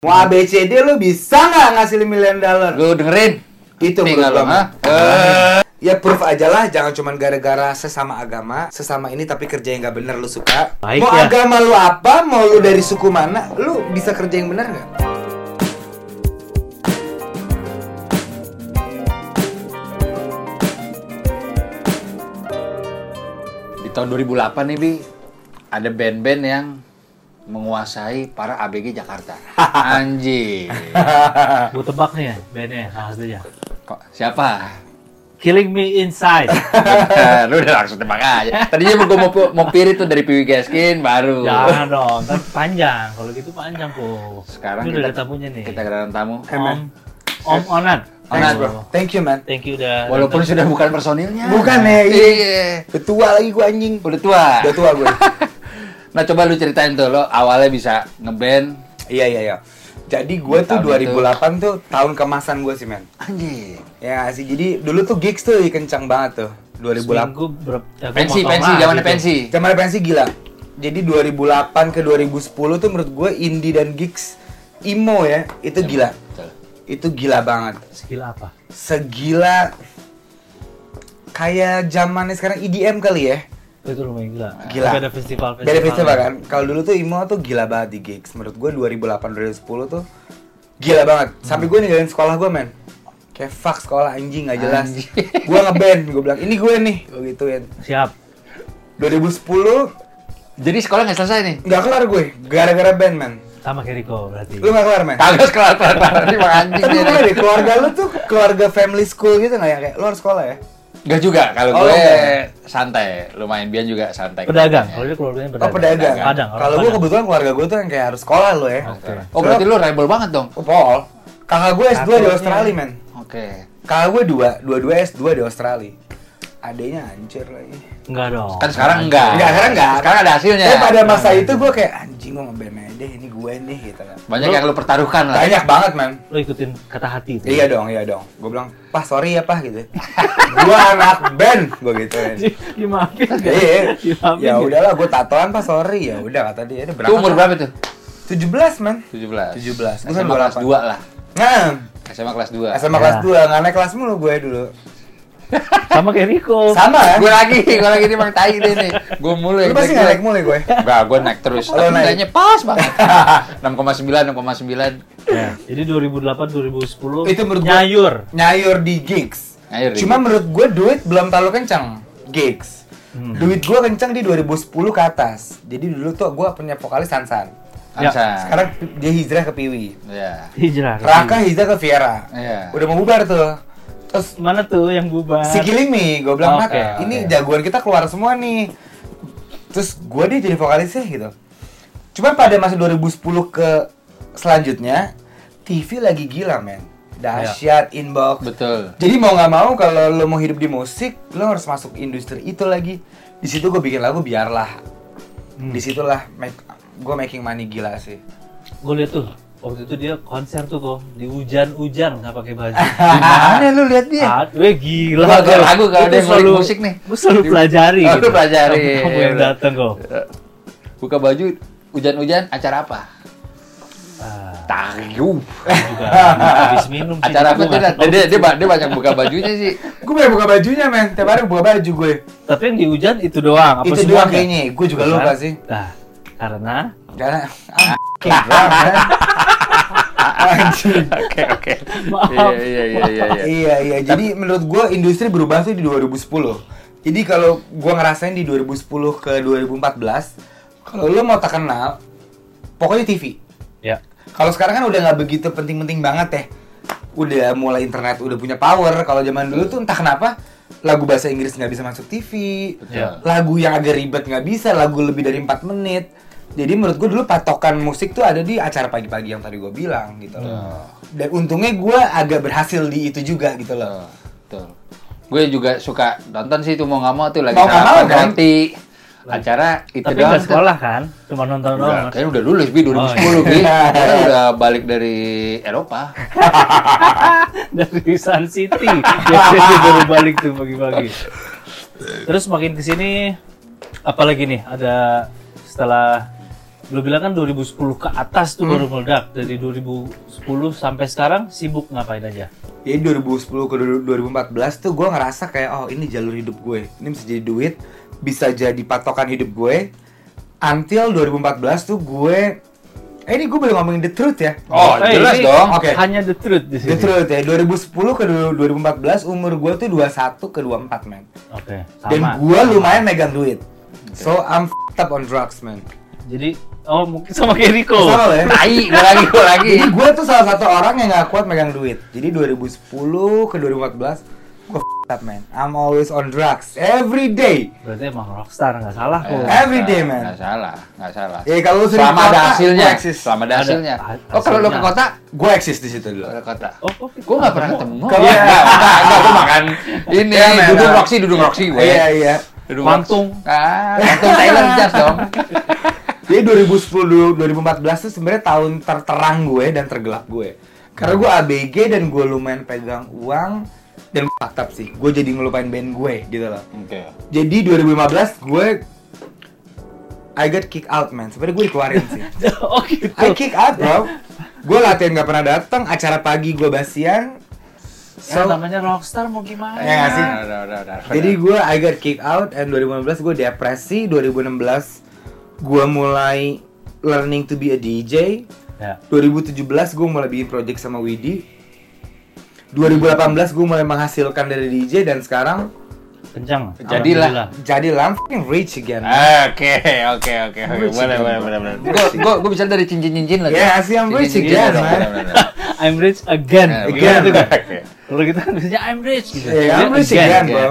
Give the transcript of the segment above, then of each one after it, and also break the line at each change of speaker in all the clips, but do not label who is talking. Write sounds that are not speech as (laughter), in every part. Mau ABCD lu bisa nggak ngasih million dollar?
Lu dengerin?
Itu
Ngerti nggak
menurut
lu,
gua.
ha?
Ya proof aja lah, jangan cuman gara-gara sesama agama, sesama ini tapi kerja yang nggak bener lu suka.
Baik,
mau
ya.
agama lu apa, mau lu dari suku mana, lu bisa kerja yang bener nggak?
Di tahun 2008 nih, Bi, ada band-band yang menguasai para ABG
(laughs)
Jakarta. Anjir.
Gue tebak nih ya, bandnya salah satunya.
Kok siapa? (laughs)
Killing Me Inside.
Bener, lu udah langsung tebak aja. Tadinya gua mau mau pilih tuh dari Piwi Gaskin baru.
Jangan dong, kan panjang. Kalau gitu panjang kok.
Sekarang
Ini udah
kita
ada tamunya nih.
Kita kedatangan tamu.
Om, Om Onan.
Onan,
Thanks, bro. Thank you, man.
Thank you udah.
Walaupun sudah bukan personilnya.
Bukan ya, iya.
Iya.
Betua lagi gua anjing.
Udah tua.
Udah tua gue.
(laughs) Nah, coba lu ceritain tuh lo awalnya bisa ngeband.
iya, iya, iya. Jadi gue tuh
Tahun
2008 tuh tahun kemasan gue sih, man.
Anjir.
Ya nggak sih, jadi dulu tuh gigs tuh kencang banget tuh. 2008.
Seminggu berapa? ya, gua gitu.
Pensi,
motong
pensi, zamannya
lagi tuh.
gitu.
pensi.
Zaman pensi gila. Jadi 2008 ke 2010 tuh menurut gue indie dan gigs emo ya,
Iya,
itu gila.
Betul.
Itu gila banget.
Skill apa?
Segila kayak zamannya sekarang EDM kali ya.
Itu lumayan gila.
Gila.
Nah, Tapi Ada festival festival. ya.
Dari festival kan. Kalau dulu tuh emo tuh gila banget di gigs. Menurut gue 2008 2010 tuh gila banget. Sampai
Hmm.
gue ninggalin sekolah gue, men. Kayak fuck sekolah anjing nggak jelas.
Anjing.
(laughs) Gue ngeband, gue bilang ini gue nih, gue gituin.
Siap.
2010
Jadi sekolah nggak selesai nih?
nggak kelar gue, gara-gara band, men.
Sama kayak Riko berarti.
Lu nggak kelar, men.
Kagak sekolah kelar kelar nih bang anjing.
Tapi gue deh, keluarga lu tuh keluarga family school gitu nggak ya? Kayak lu harus sekolah ya?
Nggak juga kalau
Oh,
gue
nggak.
santai, lumayan bian juga santai.
Pedagang.
Kayaknya.
Kalau dia keluarganya
Oh
pedagang.
pedagang.
Padang. orang
Kalau gue
Padang.
kebetulan keluarga gue tuh yang kayak harus sekolah lu ya.
Oke.
Oh berarti lu rebel banget dong.
Oh, Paul. Kakak gue S2 di
Satunya.
Australia, men.
Oke.
Kakak gue dua, dua-dua S2 di Australia. Adanya hancur lagi.
Enggak dong.
Kan sekarang enggak.
Enggak, sekarang enggak.
Sekarang ada hasilnya.
Tapi pada masa itu gue kayak anjing gue ngeband aja deh, ini gue nih gitu kan.
Banyak yang lu pertaruhkan lah.
Banyak banget, man.
Lu ikutin kata hati itu.
Iya dong, iya dong. Gue bilang, "Pak, sorry ya, Pak." (laughs) gitu. gue anak band, gitu, gue gituin.
Di- (laughs) Dimaafin. nggak?
Iya.
Dimaafin.
Ya
nggak?
udahlah gue tatoan pas sorry ya udah kata dia dia
Itu umur
berangkat.
berapa tuh?
17 man.
17.
17. Gua kan
SMA kelas
28.
2 lah.
Nah,
SMA kelas 2.
SMA
Ya.
kelas 2 nggak naik kelas mulu gue dulu.
Sama kayak Riko.
Sama kan?
Gue lagi, gue lagi nih Bang Tai deh nih. Gue mulu
Lu
yang
pasti nggak naik
naik-naik.
mulu ya gue.
Enggak, gue naik terus.
Lu
Tapi
naik.
kayaknya pas banget. (laughs) 6,9, 6,9.
Nah,
Ya, jadi 2008 2010
Itu menurut gua-
nyayur.
Nyayur di gigs.
Nyayur di
Cuma menurut gue duit belum terlalu kencang gigs. Duit gue kencang di 2010 ke atas. Jadi dulu tuh gue punya vokalis Sansan.
Ya,
Ansa.
Sekarang dia hijrah ke Piwi.
Ya.
Hijrah.
Raka hijrah ke Viera.
Iya.
Udah mau bubar tuh. Terus
Mana tuh yang bubar?
si Killing Me, gue bilang,
Oke,
"Mat, ini
oke.
jagoan kita keluar semua nih. Terus gue dia jadi vokalisnya gitu. Cuma pada masa 2010 ke selanjutnya, TV lagi gila men. Dahsyat,
Iya.
inbox.
Betul.
Jadi mau nggak mau kalau lo mau hidup di musik, lo harus masuk industri itu lagi. Di situ gue bikin lagu biarlah.
Hmm.
Di situlah gue making money gila sih.
Gue liat tuh waktu itu dia konser tuh kok di hujan-hujan nggak pakai
(laughs)
baju.
(laughs)
Gimana lu lihat dia?
Ah, gue gila.
Lagu-
gua.
lagu kalau kan
Itu
ada yang ngulik
selalu-
musik nih.
Gue selalu pelajari. gitu.
Oh, lu pelajari.
Kamu- Kamu yang
Iya,
dateng kok.
Buka baju hujan-hujan acara apa?
Ah,
Tahu. (laughs)
juga habis minum sih.
Acara apa
Gua
tuh?
nggak
Dan?
tahu.
Dia, dia, ba- dia banyak buka bajunya sih.
Gue banyak buka bajunya men, tiap hari buka baju gue.
Tapi yang di hujan itu doang. Apa
itu doang
semua ada?
kayaknya, gue juga
Bukan.
lupa sih.
Nah, karena
Karena ah, fucking drum, kan? (laughs) Anjing.
Oke, oke.
(laughs) Maaf.
Iya, iya, iya, iya, iya.
(laughs) Iya iya. Jadi menurut gue industri berubah tuh di 2010. Jadi kalau gue ngerasain di 2010 ke 2014, kalau lo mau terkenal, pokoknya TV.
ya
Kalau sekarang kan udah nggak begitu penting-penting banget ya. Udah mulai internet udah punya power. Kalau zaman dulu tuh entah kenapa lagu bahasa Inggris nggak bisa masuk TV,
Betul.
lagu yang agak ribet nggak bisa, lagu lebih dari 4 menit. Jadi menurut gue dulu patokan musik tuh ada di acara pagi-pagi yang tadi gue bilang gitu loh. Dan untungnya gue agak berhasil di itu juga gitu loh.
Betul. Gue juga suka nonton sih itu mau nggak mau tuh lagi
Mau nggak
sarapan
mau, kan?
roti. Acara itu
Tapi
doang.
nggak sekolah kan? Cuma nonton doang. (laughs)
Udah, kayaknya udah lulus bi 2010
Oh, iya.
bi. Kan udah balik dari Eropa.
dari
(laughs)
Sun City. Biasanya dia baru balik tuh pagi-pagi. Terus makin kesini, apalagi nih ada setelah Lu bilang kan 2010 ke atas tuh baru
Hmm.
meledak. Dari 2010 sampai sekarang sibuk ngapain aja?
Jadi 2010 ke 2014 tuh gue ngerasa kayak oh ini jalur hidup gue. Ini bisa jadi duit, bisa jadi patokan hidup gue. Until 2014 tuh gue Eh ini gue boleh ngomongin the truth ya.
Oh,
Eh,
jelas
ini
dong.
Oke.
Hanya the truth di
The
sini.
truth ya. 2010 ke 2014 umur gue tuh 21 ke 24, men.
Oke,
Dan
sama.
gue lumayan megang duit. So I'm f***ed up on drugs, man.
Jadi oh mungkin sama kayak Rico.
Sama lo ya.
Tai, gue lagi, gue lagi.
Jadi gue tuh salah satu orang yang gak kuat megang duit. Jadi 2010 ke 2014 gue f***ed up man. I'm always on drugs every day.
Berarti emang rockstar nggak salah
Eh,
kok.
Every day, man.
Nggak salah, nggak salah.
Ya kalau lu sering
Selama ada
kota,
hasilnya,
gua eksis.
selama ada
Ada
hasilnya.
ha-
Oh, kalau lo ke
hasilnya.
kota,
Gue eksis di situ
lo
dulu.
ke kota.
Oh, oh,
Gue nggak pernah ketemu.
Kalau-
Iya, nggak, nggak, gue makan (laughs) Ya, ini,
Iya, men,
dudung
nah.
roksi, dudung roksi gue.
Iya iya.
Dudung
Mantung.
Roxy. Ah, (laughs) mantung Thailand jas dong.
Jadi 2010 dulu, 2014 tuh sebenarnya tahun terterang gue dan tergelap gue. Karena gue ABG dan gue lumayan pegang uang dan fucked up sih. Gue jadi ngelupain band gue gitu loh.
Oke.
Jadi 2015 gue I got kick out man. Sebenarnya gue dikeluarin (laughs) sih.
(laughs) oh gitu.
I kick out bro. Gue latihan gak pernah datang. Acara pagi gue basian.
Ya,
So,
namanya rockstar mau gimana?
Ya, nggak sih?
Udah, udah, udah, udah.
jadi gue I got kick out and 2015 gue depresi. 2016 gue mulai learning to be a DJ.
Ya.
2017 gue mulai bikin project sama Widi. 2018 gue mulai menghasilkan dari DJ dan sekarang
Kencang.
Jadilah.
Alhamdulillah.
jadi fucking rich again. man.
Oke, oke, oke, oke. Boleh, boleh, boleh, boleh. Gue, gue, gue bisa dari cincin-cincin lagi.
Ya, sih, I'm rich
Cincin-cincin
again, man.
dong, Iya, bener, bener.
I'm rich again.
Nah,
Again.
Gitu kan?
oke.
Kalau kita kan biasanya I'm rich gitu.
Yeah, Ya, I'm
Dia
rich again.
Oke.
bro.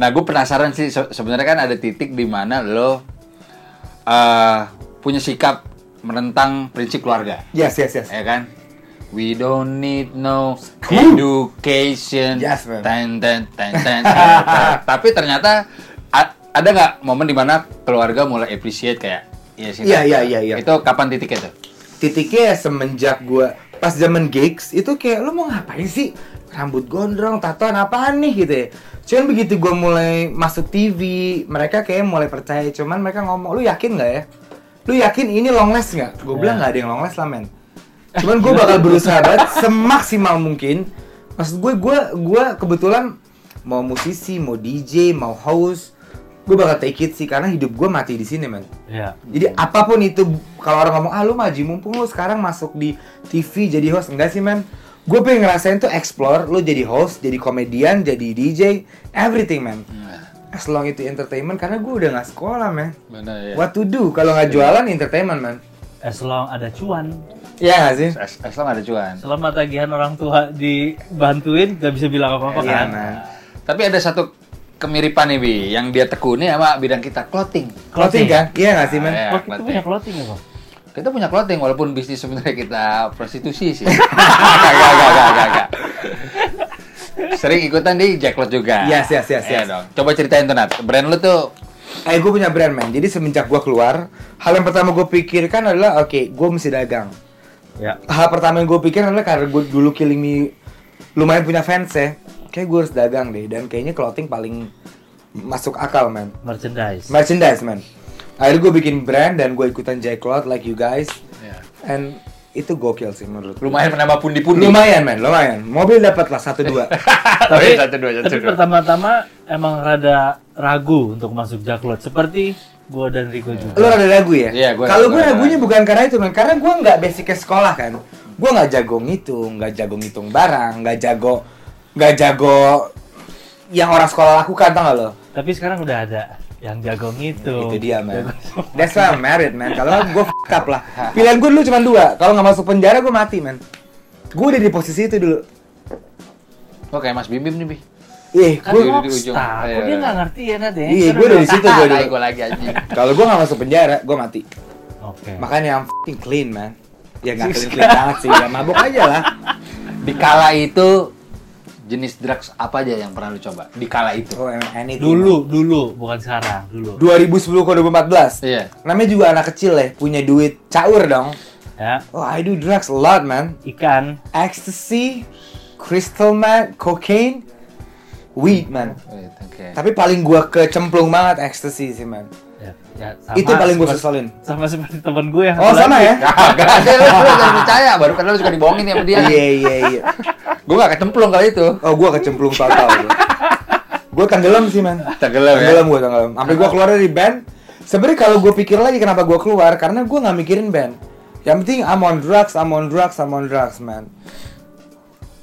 Nah, gue penasaran sih. se- Sebenarnya kan ada titik di mana lo eh, punya sikap menentang prinsip keluarga,
Yes, yes, yes.
ya kan? We don't need no education.
Yes, man.
Ten, ten, ten, ten, ten,
(laughs)
ten. Tapi ternyata a- ada nggak momen di mana keluarga mulai appreciate kayak Iya, sih.
Iya, iya, iya, iya.
Itu kapan titiknya tuh?
titiknya ya semenjak gua pas zaman gigs itu kayak lu mau ngapain sih rambut gondrong tatoan apaan nih gitu ya cuman begitu gua mulai masuk TV mereka kayak mulai percaya cuman mereka ngomong lu yakin nggak ya lu yakin ini long last nggak gue bilang
Ya.
nggak ada yang long last lah men cuman gue bakal berusaha banget semaksimal mungkin maksud gue gue gue kebetulan mau musisi mau DJ mau host gue bakal take it sih karena hidup gue mati di sini men
Iya.
jadi apapun itu kalau orang ngomong ah lu maju mumpung lu sekarang masuk di TV jadi host enggak sih man gue pengen ngerasain tuh explore lu jadi host jadi komedian jadi DJ everything man as long itu entertainment karena gue udah nggak sekolah man
Benar ya.
what to do kalau nggak jualan entertainment man
As long ada cuan,
Iya nggak sih
As- Aslam ada cuan.
selama tagihan orang tua dibantuin, gak bisa bilang apa-apa
Iya,
kan?
man.
Tapi ada satu kemiripan nih Bi, yang dia tekuni sama bidang kita clothing.
Clothing kan? Iya nggak sih, man?
Ah, iya,
Waktu itu
clothing.
punya clothing ya, Bang?
Kita punya clothing walaupun bisnis sebenarnya kita prostitusi
(laughs)
sih. Gak, gak, gak, gak, gak, gak. Sering ikutan di Jacklot juga.
Yes, yes, yes,
Iya
yes.
dong. Coba ceritain tuh Nat, brand lu tuh
Eh, gue punya brand, man. Jadi semenjak gue keluar, hal yang pertama gue pikirkan adalah, oke, gue mesti dagang.
Ya.
hal pertama yang gue pikir adalah karena gue dulu Killing Me lumayan punya fans ya kayak gue harus dagang deh dan kayaknya clothing paling masuk akal man
Merchandise.
merchandise man akhirnya gue bikin brand dan gue ikutan J Cloth like you guys and itu gokil sih menurut gue.
lumayan menambah pundi-pundi. (laughs)
lumayan man lumayan mobil dapat lah satu dua
Oke,
tapi,
satu, dua, satu,
tapi
dua.
pertama-tama emang rada ragu untuk masuk jaklot seperti gua dan Rico
lu
juga.
rada ragu ya
Iya, gua-
kalau gue
gua rada
ragunya
ragu.
bukan karena itu man karena gue nggak basicnya sekolah kan gue nggak jago ngitung nggak jago ngitung barang nggak jago nggak jago yang orang sekolah lakukan tau gak lo
Tapi sekarang udah ada yang jago gitu.
Itu dia, man. (laughs) That's why I'm married, man. Kalau nggak, gue fuck up
(laughs)
lah. Pilihan gue dulu cuma dua. Kalau nggak masuk penjara, gue mati, man. Gue udah di posisi itu dulu.
Lo kayak Mas Bim Bim nih Bi.
Ih,
Kan
gue...
Iya, di ujung.
rockstar,
Iya,
kok dia
iya.
nggak ngerti ya Nat ya?
Iya, gue dari situ gue
Ah, (laughs)
dulu.
gue lagi anjing.
Kalau gue nggak masuk penjara, gue mati.
Oke.
Makanya I'm fucking clean, man. Ya nggak clean clean banget sih, ya mabok aja lah.
Di kala itu jenis drugs apa aja yang pernah lu coba? Di kala itu.
Oh, emang anything.
Dulu, dulu, bukan sekarang, dulu.
2010 ke 2014.
Iya.
Namanya juga anak kecil ya, punya duit caur dong.
Ya,
Oh, I do drugs a lot, man.
ikan.
Ecstasy, crystal man, cocaine, weed, man.
Oke. iya,
Tapi paling gua kecemplung banget ecstasy sih man.
Ya. Ya,
Itu paling gue
seperti-
seselin.
Sama seperti temen gue yang
Oh
satu
sama
lagi.
ya?
Kagak
(laughs)
ada lu lu jangan percaya baru karena lu suka dibohongin ya sama dia.
Iya iya iya.
Gue gak kecemplung kali itu.
Oh gue kecemplung total. gue tenggelam sih men.
Tenggelam ya.
Tenggelam gue tenggelam. Sampai gue keluar dari band. Sebenarnya kalau gue pikir lagi kenapa gue keluar karena gue nggak mikirin band. Yang penting I'm on drugs, I'm on drugs, I'm on drugs man.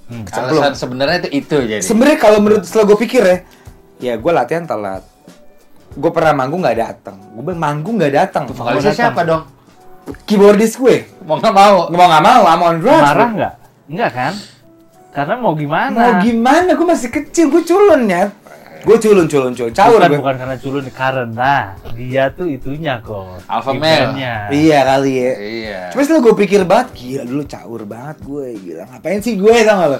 Kecemplung.
Alasan sebenarnya itu itu jadi.
Sebenarnya kalau menurut setelah gue pikir ya, ya gue latihan telat. Gue pernah manggung nggak datang. Gue bilang manggung nggak datang.
Vokalisnya
datang.
siapa dong?
Keyboardis gue.
Mau nggak mau.
Nggak mau nggak mau, I'm on drugs.
Marah nggak? Enggak kan? Karena mau gimana?
Mau gimana? Gue masih kecil, gue culun ya. Gue culun, culun, culun. Caur
bukan,
gue.
bukan karena culun, karena dia tuh itunya kok.
Alpha male.
Iya kali ya.
Iya.
Cuma setelah gue pikir banget, gila dulu caur banget gue. Gila, ngapain sih gue sama lo?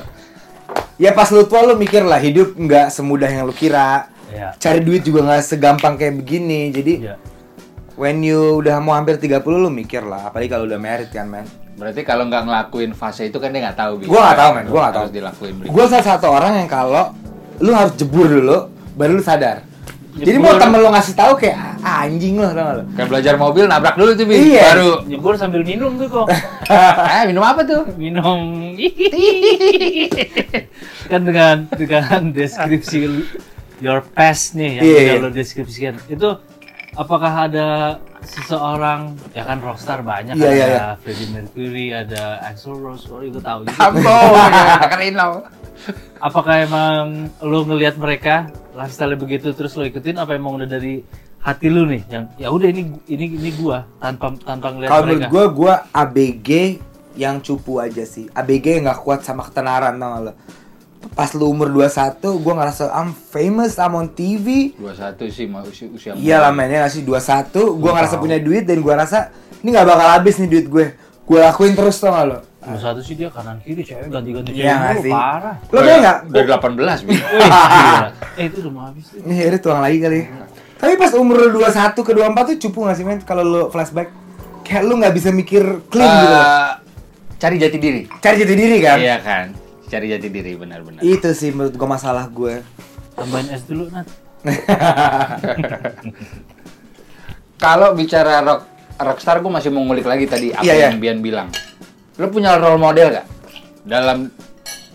Ya pas lu tua lu mikir lah, hidup nggak semudah yang lu kira.
Iya.
Cari duit juga nggak segampang kayak begini. Jadi
Iya.
when you udah mau hampir 30 lu mikir lah. Apalagi kalau udah married kan, men.
Berarti kalau nggak ngelakuin fase itu kan dia nggak tahu. Bi.
Gue nggak tahu, men. Gue nggak tahu.
Harus dilakuin.
Iya.
Gue salah satu orang yang kalau lu harus jebur dulu, baru lu sadar. Jadi mau
Jebur.
temen lu ngasih tahu kayak "Ah, anjing lo, tau nggak lo?
Kan belajar mobil nabrak dulu tuh, Bi.
Iya. (laughs)
Baru.
Nyebur sambil minum tuh kok.
eh, minum apa tuh?
minum
(laughs)
kan dengan dengan deskripsi your past nih yang
Iya,
udah
iya.
lo deskripsikan itu apakah ada seseorang ya kan rockstar banyak
Iya,
ada
iya, iya.
Freddie Mercury ada Axl Rose oh itu tahu gitu.
(laughs) Ambo. Keren lo.
apakah emang lo ngelihat mereka lifestyle begitu terus lo ikutin apa emang udah dari hati lu nih yang ya udah ini ini ini gua tanpa tanpa ngelihat
Kalau menurut
mereka
gue, gue ABG yang cupu aja sih. ABG yang gak kuat sama ketenaran tau nggak lo. Pas lu umur 21, gue ngerasa I'm famous, I'm on TV.
Dua satu sih mau usia usia.
Iya lah mainnya ngasih 21, gue ngerasa punya duit dan gue rasa ini gak bakal habis nih duit gue. Gue lakuin terus tau nggak lo.
Nomor satu sih dia kanan kiri cewek ganti-ganti
Iya
cewek
nggak
mulu,
sih?
parah
Lo kayak gak?
Dari 18, Bi.
(laughs)
Wih, gila. eh itu udah mau habis tuh.
Ini akhirnya tuang lagi kali ya. Tapi pas umur lu 21 ke 24 tuh cupu gak sih men? Kalau lu flashback, kayak lu gak bisa mikir clean gitu loh.
Eh, Cari jati diri.
Cari jati diri kan?
Iya kan. Cari jati diri benar-benar.
Itu sih menurut gue masalah gue.
Tambahin es dulu, Nat.
Kalau bicara rock rockstar, gue masih mau ngulik lagi tadi apa
Iya, iya.
yang Bian bilang. Lo punya role model gak dalam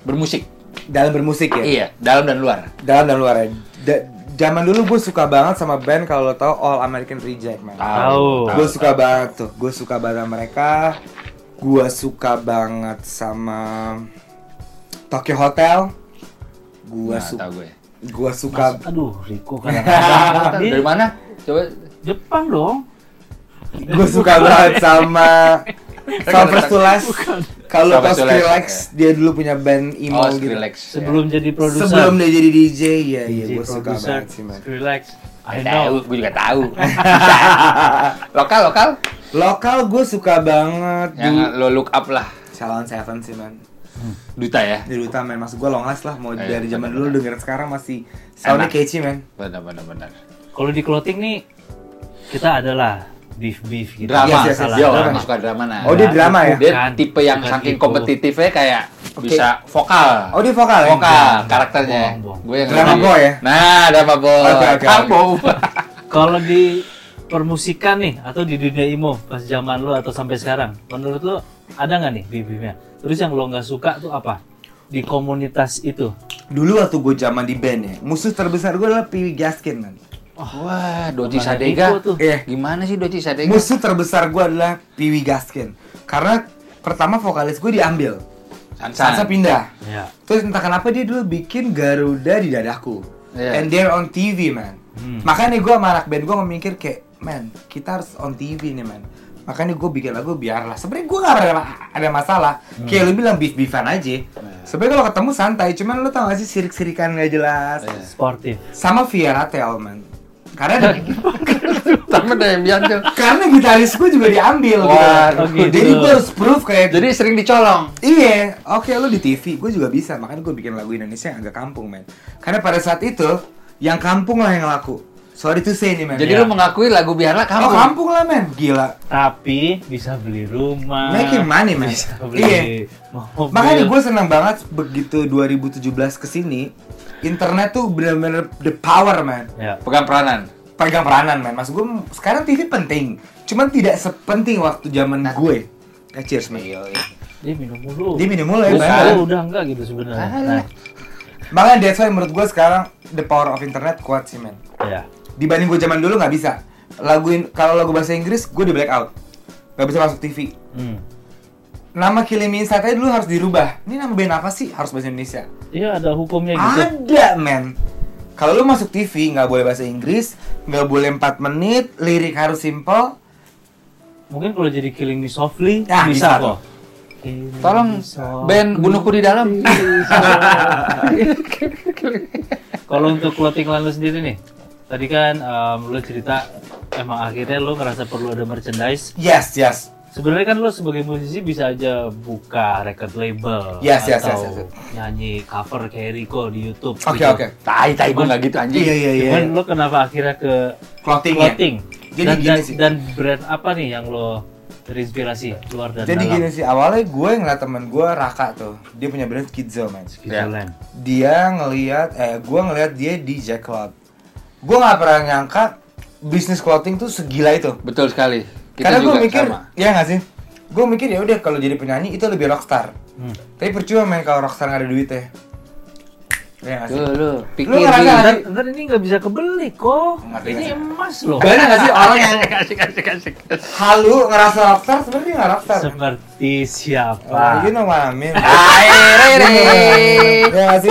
bermusik?
Dalam bermusik ya?
Iya, dalam dan luar.
dalam dan luar ya. Da- zaman dulu gue suka banget sama band kalau lo tau All American Reject man.
Tahu.
Gue suka banget tuh. Gue suka banget sama mereka. Gue suka banget sama Tokyo Hotel. Gue
Nah,
suka.
tahu gue.
Gue suka.
Aduh, Riko kadang-kadang (laughs) Di
Dari mana? Coba.
Jepang dong.
Gue suka banget
(laughs)
sama Sound First to Last. Kalau
Sound
tau
First to Last,
Skrillex, dia dulu punya band emo
ya. Oh,
gitu.
Skrillex.
Sebelum jadi produser.
Sebelum dia jadi DJ, ya, ya
jadi
gue suka
produser,
banget sih man.
Relax. I
Ya. Tahu,
know.
gue juga tahu. lokal, lokal.
Lokal gue suka banget.
Yang
Du-
lo look up lah,
Salon Seven sih man.
duta ya.
Jadi utama maksud gue long last lah mau
Iya,
dari zaman
benar-benar.
dulu dengerin sekarang masih soundnya
Enak.
catchy men.
Benar-benar. benar.
Kalau di clothing nih, kita adalah beef-beef gitu.
Drama,
Iya, iya,
Masalah
dia
iya,
orang
drama.
yang suka drama nah.
Oh, dia drama ya?
Dia
Bukan,
tipe yang
bukan
saking
itu.
kompetitifnya kayak bisa vokal.
Oh dia vokal ya?
vokal karakternya.
Bohong, bohong.
Gue yang
Drama
ngerti.
boy ya?
Nah, drama boy.
Oke, oke,
Kambo.
Kalau di permusikan nih, atau di dunia emo, pas zaman lo atau sampai sekarang, menurut lo ada nggak nih beef-beefnya? Terus yang lo nggak suka tuh apa? Di komunitas itu.
Dulu waktu gue zaman di band ya, musuh terbesar gue adalah Piwi Gaskin men.
Wah, Doji
Kemana
Sadega.
Diko tuh?
Iya.
Gimana sih Doji Sadega?
Musuh terbesar gue adalah Piwi Gaskin. Karena pertama vokalis gue diambil, Sansa pindah.
Ya.
Terus entah kenapa dia dulu bikin Garuda di dadaku. And
Iya.
they're on TV man.
Hmm.
Makanya gue sama anak band gue memikir kayak, man kita harus on TV nih man. Makanya gue bikin lagu biarlah. Sebenarnya gue gak ada, ada masalah. Kayak lu bilang beef beefan
Iya.
aja. Sebenarnya kalau ketemu santai, cuman lu tau gak sih sirik sirikan gak jelas.
Iya.
Sportif.
Sama Viera Tel man.
(laughs)
Karena
Sama deh yang bilang tuh.
karena gitaris gue juga diambil.
Waduh,
gitu.
gitu.
Jadi gue harus proof kayak
Jadi sering dicolong.
Iya, oke lu di TV, gue juga bisa. Makanya gue bikin lagu Indonesia yang agak kampung, men. Karena pada saat itu, yang kampung lah yang laku. Sorry to say nih, men.
Jadi
Ya.
lu mengakui lagu biarlah kamu.
Oh, kampung lah, men. Gila.
tapi bisa beli rumah
Making money, man.
Ah, bisa beli
Nah,
Oh,
Iya.
mobil
Makanya gue senang banget begitu 2017 kesini, internet tuh bener-bener the power, man.
ya
Pegang peranan.
pegang peranan men. Mas gue sekarang TV penting, cuman tidak sepenting waktu zaman
Nah.
gue. Eh, cheers men.
Iya,
Dia minum mulu.
Dia minum mulu ya,
Terus
Bang.
gua udah enggak gitu sebenarnya. Nah,
Makanya that's why menurut gue sekarang the power of internet kuat sih men.
ya.
Dibanding gue zaman dulu nggak bisa. Laguin kalau lagu bahasa Inggris gue di black out. Gak bisa masuk TV.
Hmm.
Nama Kill Me Inside aja dulu harus dirubah. Ini nama band apa sih? Harus bahasa Indonesia.
Iya ada hukumnya gitu.
Ada men. Kalau lu masuk TV nggak boleh bahasa Inggris, nggak boleh 4 menit, lirik harus simple.
Mungkin kalau jadi killing me softly
Ah, bisa
bisa
tuh.
kok. Killing
Tolong
me softly.
Ben bunuhku di dalam.
Kalau untuk clothing line lu sendiri nih, tadi kan em, lu cerita emang akhirnya lu ngerasa perlu ada merchandise.
Yes, yes.
Sebenarnya kan lu sebagai musisi bisa aja buka record label
Yes, yes, yes,
atau
yes, yes.
nyanyi cover kayak Rico di YouTube.
Oke,
gitu.
oke.
Tai tai gue nggak gitu anjing.
Iya, iya, iya.
Cuman lu kenapa akhirnya ke
Clothing ya.
clothing?
Jadi
dan,
gini
dan,
sih.
dan brand apa nih yang lo terinspirasi keluar dan
Jadi
dalam?
gini sih, awalnya gue ngeliat temen gue Raka tuh Dia punya brand Schizo man
Switzerland.
Ya. Dia ngeliat, eh gue ngeliat dia di Jack Club Gue gak pernah nyangka bisnis clothing tuh segila itu
Betul sekali. Kita
Karena gue
juga
mikir,
sama.
ya gak sih? Gue mikir ya udah kalau jadi penyanyi itu lebih rockstar
Hmm.
Tapi percuma main kalau rockstar gak ada duitnya Ya gak sih?
Lu lu pikir
Lu ngerasa
Bi.
nggak
Ntar, ntar ini nggak bisa kebeli kok.
Ngerti,
ini
ngerti.
emas loh.
Banyak gak sih orang (laughs) yang
Kasih kasih kasih. kasih.
halu ngerasa rockstar sebenarnya gak rockstar
Seperti
Wah,
Oh,
siapa?
iya.
You know what I
(laughs)
mean
Airere.
Ya gak sih?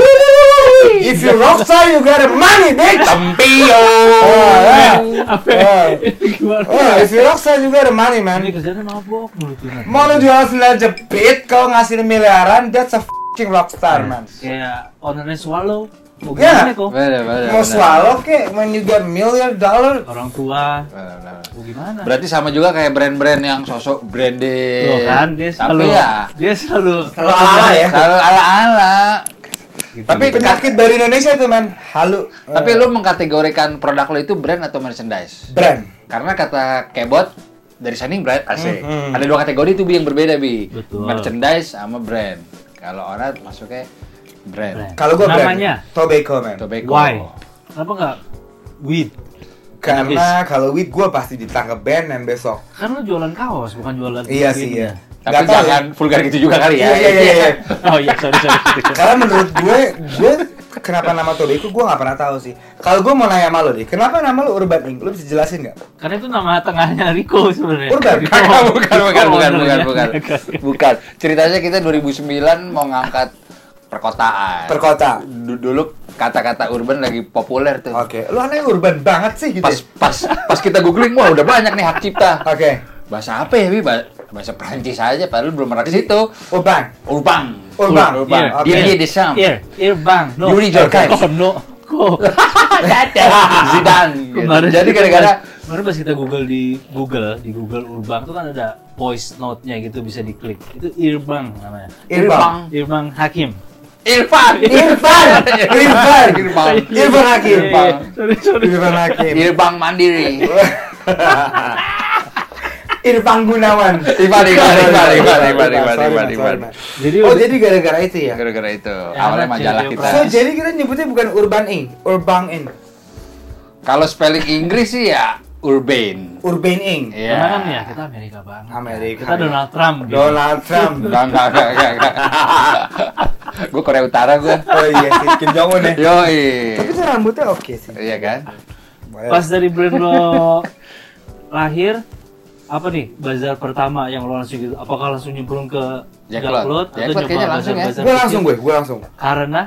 If you rockstar, you got money, bitch!
Tempio.
Oh, ya.
Apa?
Oh.
Gimana?
Oh,
iya.
if you rockstar juga ada money, man.
Ini kerjanya mabok mulu tuh. Nat.
Mau lu jual sendal jepit, kalau ngasih miliaran, that's a f***ing rockstar, man.
Hmm. Iya,
Kayak ownernya swallow. Mau
Ya.
gimana kok?
Benar iya, benar.
Mau
benar.
swallow kek, when you get million dollar,
Orang tua.
Benar, benar.
Mau gimana?
Berarti sama juga kayak brand-brand yang sosok branded.
Loh kan dia selalu
Tapi ya,
dia selalu
kalau ala ya.
selalu ala-ala.
Tapi penyakit dari Indonesia tuh, man. Halu. eh,
Tapi lu mengkategorikan produk lo itu brand atau merchandise?
Brand.
Karena kata kebot dari Shining Bright asik.
Mhm.
Ada dua kategori itu Bi, yang berbeda bi.
Betul.
Merchandise sama brand. Kalau orang masuknya brand.
Brand.
Kalau gua brand.
Namanya?
Tobacco, man.
Tobacco.
Gitu. Why? Kenapa nggak weed?
Karena kalau weed gua pasti ditangkap band dan besok.
Kan lu jualan kaos bukan jualan
Iya
weed.
sih, iya.
Tapi
Nggak tahu ya.
jangan vulgar gitu juga kali ya.
Iya, iya, iya,
(laughs)
iya.
Oh iya, sorry sorry.
Karena menurut gue, gue kenapa nama Tobacco gue gak pernah tahu sih. Kalau gue mau nanya sama lo deh, kenapa nama lo Urban Ink? Lo bisa jelasin gak?
Karena Kan itu nama tengahnya Rico sebenarnya.
Urban.
Rico.
Bukan, bukan, bukan,
Rico
bukan, bukan,
ownernya.
bukan, bukan. Ceritanya kita 2009 mau ngangkat perkotaan.
Perkota.
Du- Dulu kata-kata urban lagi populer tuh.
Oke, lo anaknya urban banget sih gitu.
Pas
ya?
pas pas kita googling, wah udah banyak nih hak cipta.
Oke.
Bahasa apa ya, Bi? Ba- Bahasa Perancis aja, padahal belum pernah ke situ.
Urban.
Urbang.
Urban.
Iya.
Urban.
Oke.
Dia dia desam. (laughs)
Ear, ear bang.
Yuri Jorkai.
Oh Iya, no. Kok.
(laughs)
Zidane.
(laughs)
gitu. Jadi gara-gara
kemarin pas kita Google di Google, di Google Urbang itu kan ada voice note-nya gitu bisa diklik. Itu Irbang namanya.
Irfan.
Irbang Hakim.
Irfan.
Irfan. Irfan.
Irfan.
Irfan Hakim. Irfan.
Sorry, sorry.
Irfan Hakim. (laughs)
Irfan Mandiri.
Irfan Gunawan.
Irfan, Irfan, Irfan, Irfan, Irfan, Irfan,
Sorry,
Irfan,
man,
Irfan.
sorry, man.
Jadi
Oh,
udah-
jadi gara-gara itu ya?
Gara-gara itu.
Ya,
Awalnya
Mas,
majalah
jadi
kita.
So, jadi kita nyebutnya bukan Urban Ink, Urban Ink,
Kalau spelling Inggris sih ya urban.
Urban Ink.
Iya.
Karena kan ya kita Amerika banget.
Amerika.
Kita Donald Trump. gitu.
Donald
(laughs)
Trump.
Enggak, enggak, enggak, enggak, enggak. Gue Korea Utara gue.
Oh iya sih, Kim Jong Un ya.
Yoi.
Tapi tuh rambutnya oke sih.
Iya kan?
Boleh.
Pas dari brand lo lahir, apa nih bazar pertama yang lo langsung gitu? Apakah langsung nyemplung ke
Jacklot.
Jacklot atau
Jacklot
nyoba
kayaknya langsung ya.
bazar-bazar
Gue
kecil?
langsung gue, gue langsung.
Karena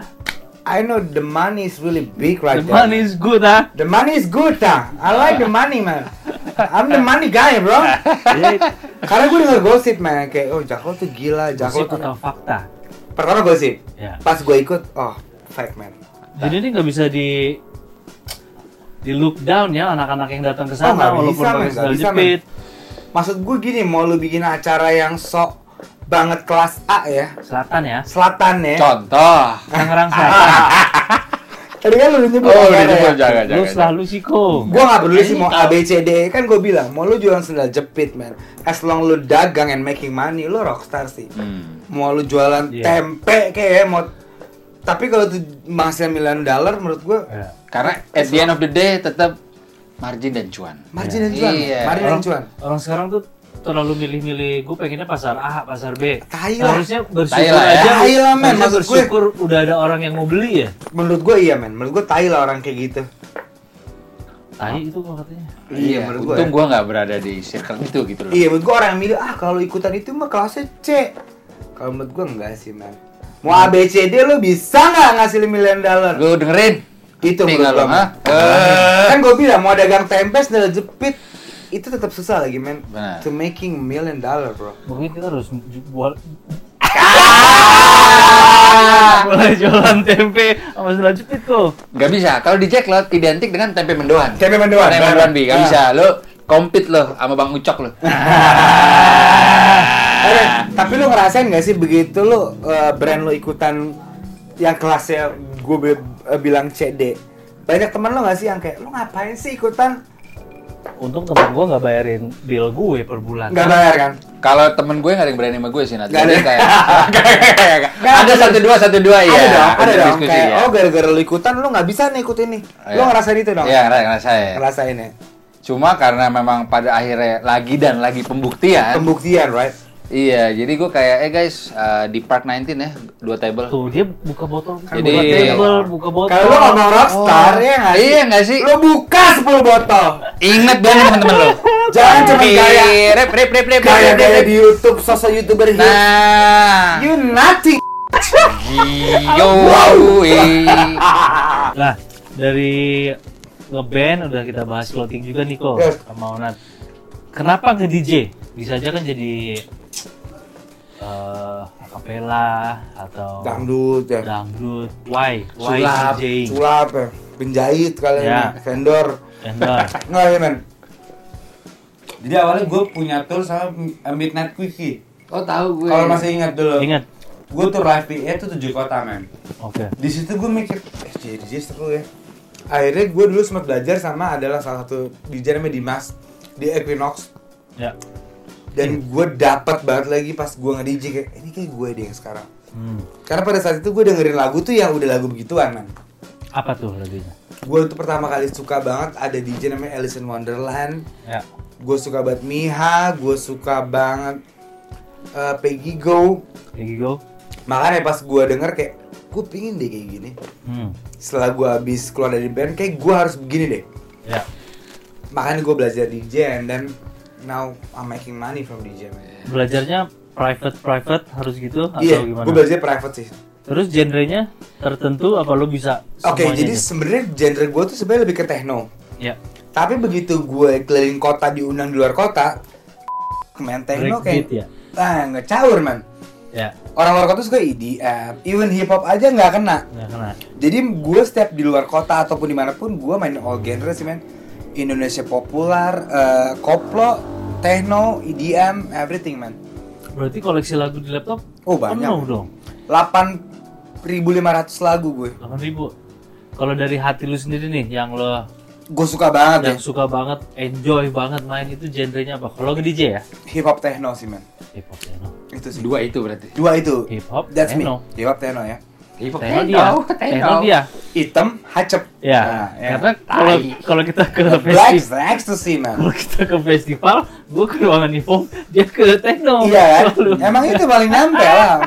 I know the money is really big right
the
there.
money is good ah.
The money is good, ah. I like the money, man. I'm the money guy, bro. Karena gue denger gosip, man. Kayak, oh, Jaklo tuh gila. Jaklo
Gosip
tuh...
atau fakta?
Pertama gosip.
Ya.
Pas gue ikut, oh, fake, man.
Jadi ini nggak bisa di di look down ya anak-anak yang datang
Oh,
ke
nggak
sana
bisa,
walaupun
men.
pakai
Nggak
sandal
bisa, men.
jepit.
Maksud gue gini, mau lu bikin acara yang sok banget kelas A ya.
Selatan
(laughs)
ya,
Selatan ya.
Contoh.
Ah,
Tangerang Selatan.
Tadi kan lu nyebut
Oh,
acara
udah
ya.
nyebut jangan,
Lu
jangan.
selalu sih kok.
Gue gak peduli sih mau A, B, C, D. Kan gue bilang, mau lu jualan sendal jepit, man. As long lu dagang and making money, lu rockstar sih.
Hmm.
mau lu jualan
Iya.
tempe kayak ya, mau tapi kalau tuh menghasilkan miliaran dolar menurut gua
Ya.
Karena at the end of the day tetap margin dan cuan.
Margin dan cuan.
Iya.
Margin dan
orang,
cuan.
orang sekarang tuh terlalu milih-milih gue pengennya pasar A pasar B
Tai lah.
harusnya bersyukur
Tai lah ya.
aja
Tai lah, men.
harusnya
Maksud gue-
bersyukur udah ada orang yang mau beli ya
Menurut gue iya men, menurut gue tai lah orang kayak gitu.
tai itu kok katanya
Iya,
menurut gue.
untung gua nggak berada di circle itu gitu loh.
Iya, menurut gue orang yang milih ah kalau ikutan itu mah kelasnya C. Kalau menurut gue enggak sih men. Mau
Hmm.
A B C D lo bisa nggak ngasilin million dollar?
Lu dengerin?
Itu
Nih,
menurut
kalau,
gue. men.
hah? Eh.
Kan gue bilang mau dagang tempe sendal jepit itu tetap susah lagi men.
Benar.
To making million dollar bro.
mungkin kita harus ju- buat
Ah!
(laughs) mulai jualan tempe sama sendal jepit tuh
Gak bisa. Kalau di Jacklot identik dengan tempe mendoan.
Tempe mendoan.
Tempe mendoan bi, gak
Ah.
bisa. Lu compete lo sama Bang Ucok
(laughs)
lo.
Eh, Ren, tapi lu ngerasain gak sih begitu lu eh, brand lu ikutan yang kelasnya gue bilang CD banyak teman lo gak sih yang kayak lu ngapain sih ikutan
untung temen gue nggak bayarin bill gue per bulan
nggak bayar kan
Kalau temen gue nggak ada yang berani sama gue sih Nat.
(laughs) Nggak ada.
Jadi kayak Nggak, nggak, nggak, nggak.
Nggak,
ada
terus.
satu dua satu dua ya.
ada dong ada
untuk
dong
diskusi,
kayak
ya.
oh gara-gara lu ikutan lu nggak bisa nih ikut ini lu
Iya.
ngerasain itu dong
Iya ngera- ngerasain.
ngerasain ya
Cuma karena memang pada akhirnya lagi dan lagi pembuktian.
pembuktian right
Iya, jadi gue kayak, eh guys, eh, di Park 19 ya, dua table.
tuh dia buka botol
Kan
buka
buka
table
table.
buka botol
kalau lu ngomong rockstar
Oh.
ya nggak
Iya nggak sih?
lu buka 10 botol
Ingat dong teman-teman lo.
Jangan cuma gaya.
Rep, rep, rep, rep,
kayak
rep, rep,
gaya
rep.
di YouTube sosok youtuber hit
Nah,
you nothing
Gio, eh.
Nah, dari ngeband udah kita bahas clothing juga nih kok
Yes.
sama Onat. Kenapa ke DJ? Bisa aja kan jadi eh akapela atau
dangdut ya
dangdut. Why? Why
sulap,
DJing?
sulap ya, penjahit kali
Ya.
ini, vendor,
Vendor.
nggak ya men? Jadi awalnya gue punya tour sama M- Midnight Quickie.
Oh tahu gue.
Kalau masih ingat dulu,
Ingat.
gue tuh live PA tuh tujuh kota men.
Oke.
Di situ gue mikir, eh jadi DJ seru ya. Akhirnya gue dulu sempat belajar sama adalah salah satu DJ namanya Dimas di Equinox
Ya.
dan
Hmm.
gue dapat banget lagi pas gue nge DJ kayak ini kayak gue deh yang sekarang.
Hmm.
Karena pada saat itu gue dengerin lagu tuh yang udah lagu begituan men.
Apa tuh lagunya?
gue tuh pertama kali suka banget ada DJ namanya Alice in Wonderland
Ya.
gue suka banget Miha gue suka banget eh, Peggy Go
Here you go.
makanya pas gue denger kayak gue pingin deh kayak gini
Hmm.
setelah gue habis keluar dari band kayak gue harus begini deh
Ya.
makanya gue belajar DJ and then now I'm making money from DJ man.
Belajarnya private private harus gitu atau
iya
gimana?
gue belajar private sih
Terus genrenya tertentu apa lo bisa
oke
semuanya
jadi
nih?
sebenarnya genre gue tuh sebenarnya lebih ke techno
ya.
tapi begitu gue keliling kota diundang di luar kota main techno
Breakbeat
kayak
ya.
ah nggak caur man
Ya.
orang luar kota suka EDM, even hip hop aja nggak kena.
Nggak kena.
Jadi gue setiap di luar kota ataupun dimanapun gue main all genre sih men. Indonesia populer, eh, koplo, techno, EDM, everything man.
Berarti koleksi lagu di laptop
Oh, banyak.
penuh dong,
8.500 lagu gue,
8000. Kalau dari hati lu sendiri nih, yang lo
gue suka banget ya
yang suka banget, enjoy banget main itu genrenya apa? Kalau ke DJ ya?
hip hop techno sih men.
Hip hop techno.
Itu sih.
dua itu berarti.
Dua itu.
Hip hop
That's
techno.
me. Hip hop techno ya.
Hip hop.
Techno dia. Techno dia.
Hitam, hacep.
Ya.
Nah, ya.
Karena kalau
Tai.
kalau kita ke
Black
festival,
ecstasy man.
kalau kita ke festival, gua ke ruangan Ivo, dia ke techno.
Iya kan?
Selalu.
Emang itu paling nampel lah.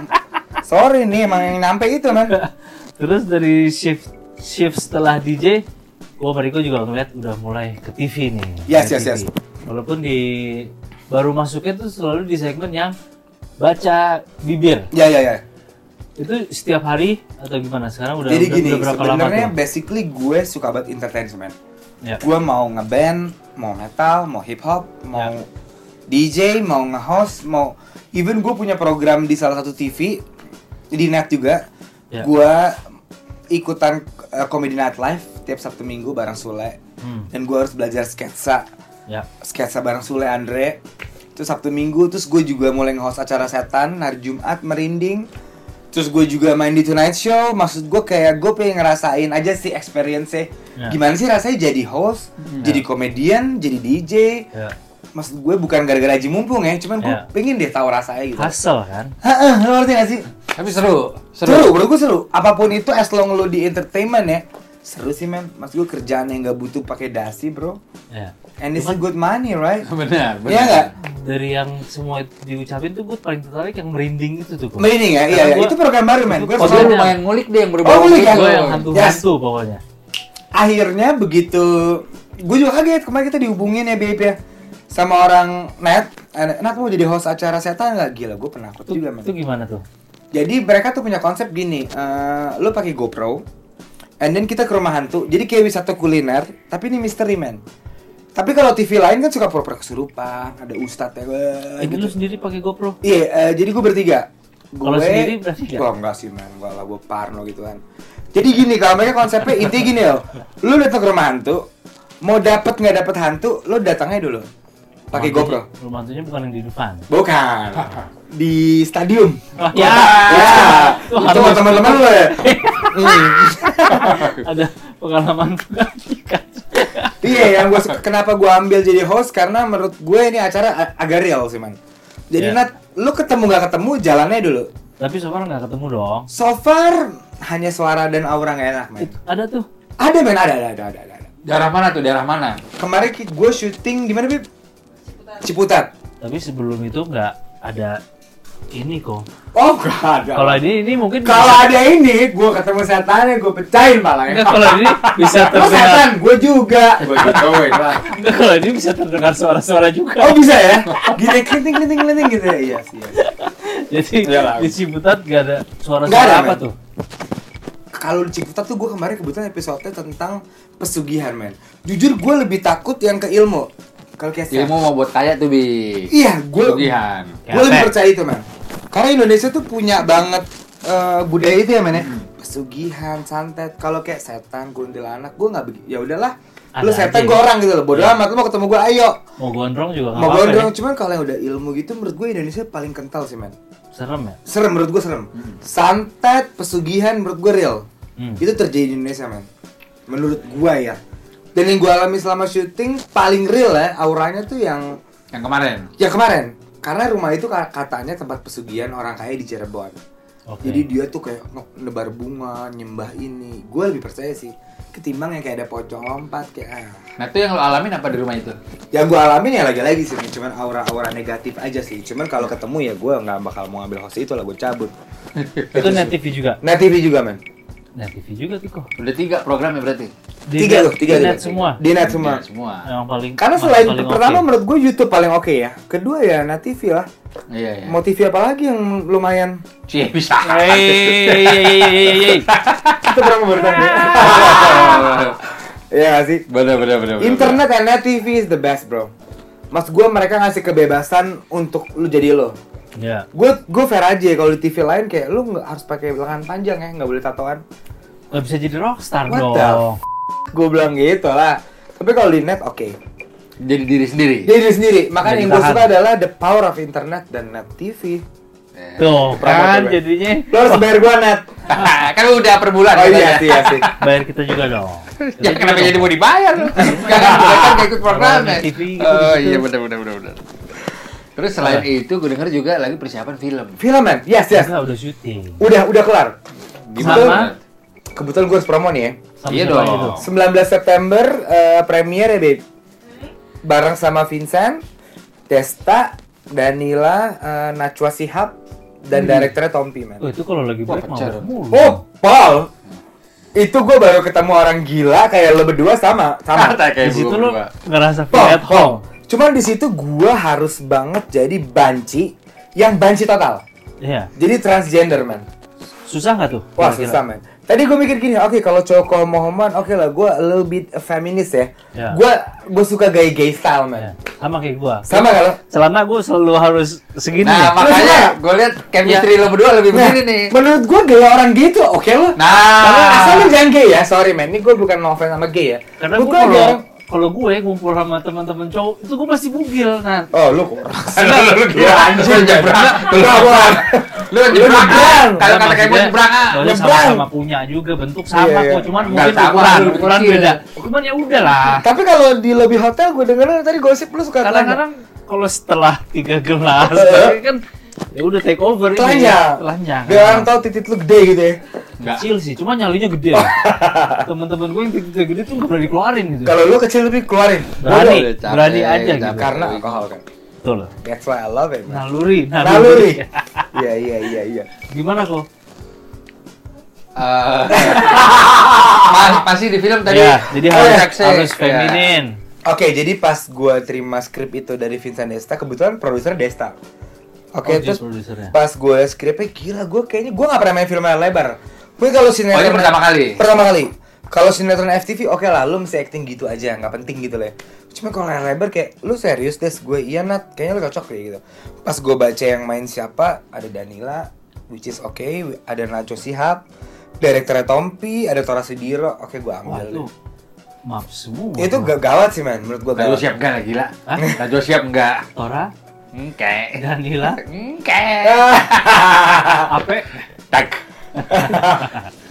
Sorry nih, emang yang nampel itu man.
Terus dari shift shift setelah DJ, gua sama Riko juga ngeliat udah mulai ke TV nih.
Yes,
Ke
yes, yes.
Walaupun di baru masuknya tuh selalu di segmen yang baca bibir.
Ya ya ya.
Itu setiap hari atau gimana? Sekarang udah
Jadi
udah,
gini,
udah berapa lama
sebenarnya
tuh?
basically gue suka banget entertainment.
Ya.
Gue mau ngeband, mau metal, mau hip hop, mau
Ya.
DJ, mau nge-host, mau even gue punya program di salah satu TV di net juga.
Ya.
Gue ikutan uh, Comedy Night Live tiap Sabtu Minggu bareng Sule.
Hmm.
Dan gue harus belajar sketsa,
Ya.
sketsa bareng Sule Andre. Terus Sabtu Minggu, terus gue juga mulai nge-host acara setan hari Jumat merinding. Terus gue juga main di Tonight Show, maksud gue kayak gue pengen ngerasain aja sih experience-nya.
Ya. Hmm,
Gimana sih rasanya jadi host, jadi komedian, jadi DJ.
Ya.
Maksud gue bukan gara-gara Haji Mumpung ya, cuman gue
Ya.
pengen deh tahu rasanya gitu.
Hustle kan?
Heeh, lo ngerti gak sih?
Tapi seru,
Seru,
seru.
menurut gue seru. Apapun itu as long lo di entertainment ya, seru sih men mas gue kerjaan yang nggak butuh pakai dasi bro
Ya.
and it's a good money
(laughs)
right
benar benar
Iya nggak
Dari yang semua itu diucapin tuh gue paling tertarik yang merinding itu tuh. Kum.
merinding ya iya
Karena
iya.
gua-
itu program baru men gue
oh dia
Soalnya-
lumayan ngulik deh yang berbau
ngulik ya?
Gue
Gua
yang
Yes.
hantu-hantu pokoknya.
akhirnya begitu gue juga kaget kemarin kita dihubungin ya Beb ya sama orang net Eh, Nat mau jadi host acara setan nggak gila gue penakut
Itu,
juga men
itu gitu. gimana tuh?
Jadi mereka tuh punya konsep gini, eh lo pakai GoPro, and then kita ke rumah hantu. Jadi kayak wisata kuliner, tapi ini misteri men. Tapi kalau TV lain kan suka pura-pura kesurupan, ada ustadz ya, wah,
Ini lu
gitu.
sendiri pakai GoPro.
Iya, eh, jadi gue bertiga.
Kalau sendiri berarti nggak?
Gua enggak sih men, gua lah gua parno gitu kan. Jadi gini, kalau mereka konsepnya intinya gini loh, lo datang ke rumah hantu, mau dapet nggak dapet hantu, lo datangnya dulu pakai
Rumah
GoPro.
hantunya- Rumah hantunya bukan yang di depan.
Bukan. Di stadium.
(laughs) Wah, ya.
Ya.
Itu
Itu
harus.
sama teman-teman lu
(laughs)
ya. Hmm.
Ada pengalaman (laughs) menakutkan.
Iya, yang gua suka- kenapa gua ambil jadi host karena menurut gue ini acara a- agak real sih, Man. Jadi
Iya.
Nat, lu ketemu nggak ketemu jalannya dulu.
Tapi so far nggak ketemu dong.
So far hanya suara dan aura nggak enak, man.
Ada tuh.
Ada, man. Ada, ada, ada, ada, ada, ada.
daerah mana tuh daerah mana
Kemarin ki- gua syuting di mana, Bib? Ciputat.
Tapi sebelum itu nggak ada ini kok.
Oh, (laughs) nggak ada.
Kalau ini ini mungkin
Kalau
bisa-
ada ini, gua ketemu setannya, gua pecahin malah.
Nggak, kalau ini bisa
Lo
terdengar.
setan, gua juga. Gua jodohin lah.
Nggak, kalau ini bisa terdengar suara-suara juga.
Oh bisa ya? Gini klinting klinting klinting gitu ya? Iya sih. iya.
Jadi
Iya lah.
di Ciputat nggak ada
Nggak ada,
suara-suara apa
men.
tuh?
Kalau di Ciputat tuh gue kemarin kebetulan episode tentang pesugihan men. Jujur gue lebih takut yang ke ilmu. Kalau kayak
ilmu mau buat kaya tuh bi
Iya gue.
Pesugihan.
Gue lebih
Capek.
percaya itu men. Karena Indonesia tuh punya banget eh, budaya itu ya men ya. Pesugihan, santet. Kalau kayak setan, kuntilanak, gue nggak begitu. Ya udahlah. Lu
Ada
setan
aja. ya.
gue orang gitu loh. Bodoh amat lu mau ketemu gue ayo.
Mau gondrong juga nggak
Mau
apa-apa.
gondrong
ya.
cuman kalau yang udah ilmu gitu menurut gue Indonesia paling kental sih men.
Serem ya.
serem menurut gue serem santet pesugihan menurut gue real
Hmm.
itu terjadi di Indonesia men menurut gue ya dan yang gue alami selama syuting paling real ya auranya tuh yang
yang kemarin
yang Ya, kemarin karena rumah itu ka- katanya tempat pesugihan orang kaya di Cirebon
Oke.
jadi dia tuh kayak nge- nebar bunga nyembah ini gue lebih percaya sih ketimbang yang kayak ada pocong lompat kayak ah.
nah itu yang lo alamin apa di rumah itu
yang gue alamin ya lagi-lagi sih men. cuman aura-aura negatif aja sih cuman kalau
Iya.
ketemu ya gue nggak bakal mau ambil host itu lah gue cabut Iya,
Itu net TV juga.
nah TV juga men
Net TV juga tuh kok.
udah tiga programnya berarti
Di
tiga
net-
tuh tiga
di
tiga.
net semua.
di net semua Ya.
Tiga semua
Yang paling
karena
paling-
selain
paling
pertama
oke.
menurut gue YouTube paling oke ya kedua ya Net TV lah
iya iya
mau TV apa lagi yang
(laughs)
lumayan (laughs)
cie bisa
Hey, hey, hey, hey, hey, hey.
itu berapa baru
(laughs)
tadi Iya gak sih
bener bener bener bener.
internet dan Net TV is the best bro mas gue mereka ngasih kebebasan untuk lu jadi lo
Ya.
gue gue fair aja kalau di TV lain kayak lu nggak harus pakai lengan panjang ya nggak boleh tatoan
Gak bisa jadi rockstar
What the
dong.
gue bilang gitu lah tapi kalau di net oke
jadi diri sendiri
Jadi diri sendiri makanya
Nggak
yang gue
ditahan.
suka adalah the power of internet dan net TV
Eh.
Tuh,
Promotor,
kan jadinya
Lo harus bayar gua (laughs) net.
(laughs) kan udah per bulan
Oh iya
katanya.
sih, iya sih.
bayar kita juga dong.
(laughs) ya
Kita
kenapa
juga
jadi
dong.
mau dibayar
(laughs)
lu? Karena kita kan gak ikut
Iya.
programnya.
Orang di TV gitu,
Oh
gitu.
iya benar benar benar benar. Terus selain itu gue denger juga lagi persiapan film.
Film man, yes yes.
Enggak, udah syuting.
Udah, udah kelar.
Gimana?
Kebetulan gua harus promo nih ya.
Sama
Iya
siapa
dong.
aja
19
tuh?
September eh, premier ya, Babe. Bareng sama Vincent, Desta, Danila, eh, Najwa Sihab
Hmm.
dan direkturnya Tompi, man.
Oh, itu kalau lagi
Wah,
break mau
pacar.
mulu.
Oh, Paul. Itu gua baru ketemu orang gila kayak lo berdua sama, sama.
Kata kayak
Di situ
gue
lu
berdua.
ngerasa feel
Paul,
at home.
Cuman di situ gua harus banget jadi banci yang banci total.
Iya.
Jadi transgender, man.
Susah nggak tuh?
Wah
kira-kira?
susah men. Tadi gue mikir gini, oke kalau cowok homo homoan, oke lah gue a little bit feminist ya.
Ya.
Gue gue suka gay gay style man.
Iya. Sama kayak gua.
Sama kalau
Celana gua selalu harus segini
Nah
nih.
makanya
Lu suka?
gue lihat chemistry
Iya.
lo berdua lebih Ya, begini nih.
Nah, menurut gue gaya orang gay itu oke lo. Tapi asal
Nah.
lu jangan gay ya, sorry man. Ini gue bukan no offense sama gay ya.
Karena
Gua
gua
gay
kalau
orang-
kalau gue ngumpul sama teman-teman cowok itu gua pasti bugil kan.
Oh lu kok.
(laughs)
Lu lu lu
Ya anjing
Lu nyebrang.
Lu nyebrang.
Lu nyebrang.
nyebrang.
Kalau kata kayak
Maksudnya,
nyebrang. ah.
soalnya
Nyebrang.
sama-sama punya juga bentuk sama
Iya, iya.
kok, cuman
Nggak
mungkin
sama,
ukuran,
lebih
ukuran
kecil.
beda. Cuman ya udahlah.
Tapi kalau di lobby hotel gue denger tadi gosip lu suka
kadang-kadang kalau setelah tiga gelas tapi kan ya udah take over ini
telanjang.
telanjang Iya.
Biar orang tahu titik lu gede gitu ya.
Nggak.
Kecil sih, cuma nyalinya gede. ya. Teman-teman gue yang titik gede tuh nggak berani keluarin gitu.
Kalau lu kecil lebih keluarin.
Berani,
Udah capek,
berani aja
capek.
gitu.
Karena alkohol kan.
Betul.
That's why I love it. Man.
Naluri, naluri.
Naluri. Iya iya iya iya.
(laughs) Gimana kok?
Eh, (laughs) pas- pasti di film tadi. Oh,
Ya, jadi harus
konteksnya-
harus
ya.
feminin.
Oke, jadi pas gua terima skrip itu dari Vincent Desta, kebetulan produser Desta. Oke,
Oh, dia
terus
ya?
produsernya.
pas gue skripnya gila, gue kayaknya gue nggak pernah main film layar lebar. Gue kalau sinetron
Oh, ini pertama kali?
Pertama kali. Kalau sinetron FTV oke lah, lu mesti acting gitu aja, nggak penting gitu lah. ya. Cuma kalau layar lebar kayak lu serius des, gue iya nat, kayaknya lu cocok deh gitu. Pas gue baca yang main siapa, ada Danila, which is oke, ada Nacho Sihab, direkturnya Tompi, ada Tora Sudiro, oke gue
Iya,
Wah,
ambil.
itu map semua.
itu ga- gawat sih man, menurut gue
Najwa
gawat.
siap enggak lah gila?
Hah?
Najwa siap enggak?
Tora,
Enggak.
Danila,
Enggak.
Ape,
(laughs) Tak.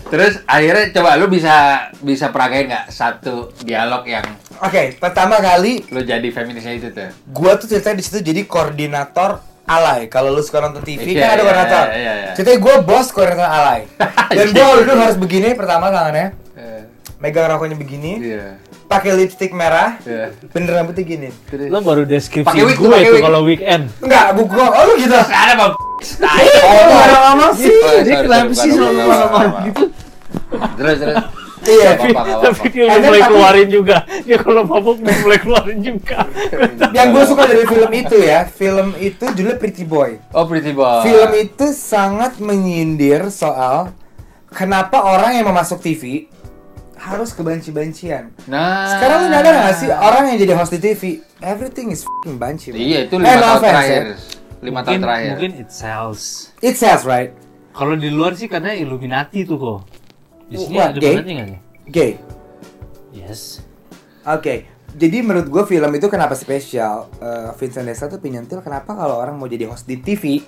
Terus akhirnya coba lu bisa bisa peragain nggak satu dialog yang
Oke, pertama kali
lu jadi feminisnya itu tuh?
gua tuh ceritanya di situ jadi koordinator alay. Kalau lu suka nonton TV
Iya,
kan ada
iya,
koordinator.
iya, iya, iya.
Ceritanya gua bos koordinator
(laughs)
alay. Dan gua waktu itu harus begini pertama tangannya,
Eh,
megang rokoknya begini,
Iya.
pakai lipstick merah,
Iya.
bener rambutnya gini.
Terus (laughs)
lo baru deskripsi
Pakai wig,
gue
pakai
itu
wig.
kalau weekend.
Enggak, bu gua, oh lu gitu.
ada
(laughs)
bang.
Eh, gua
Iya.
ada ngomong sih.
Sorry,
Dia
sorry,
kenapa
sorry,
sih
Iya, bukan, bukan,
selalu
bukan,
ngomong
bukan.
gitu?
Terus terus.
Iya.
Gak apa-apa, gak
Tapi
apa-apa.
dia udah
Eh,
mulai
tapi-
keluarin juga. Dia kalau mabuk udah mulai keluarin
(laughs)
juga.
Yang gua suka dari film itu ya, film itu judulnya Pretty Boy.
Oh Pretty Boy.
Film itu sangat menyindir soal kenapa orang yang mau masuk TV harus kebanci-bancian.
Nah.
Sekarang lu ada gak sih orang yang jadi host di TV? Everything is f***ing banci. man.
Iya itu
Eh,
lima
no
tahun
offense,
terakhir.
ya.
Lima tahun
Mungkin-
terakhir.
Mungkin it sells.
It says right,
Kalau di luar sih karena Illuminati tuh kok. Di sini
Wah,
ada
gay?
Illuminati nggak sih?
gay.
Yes.
Oke, jadi menurut gue film itu kenapa spesial? Eh, Vincent Desta tuh penyentil kenapa kalau orang mau jadi host di TV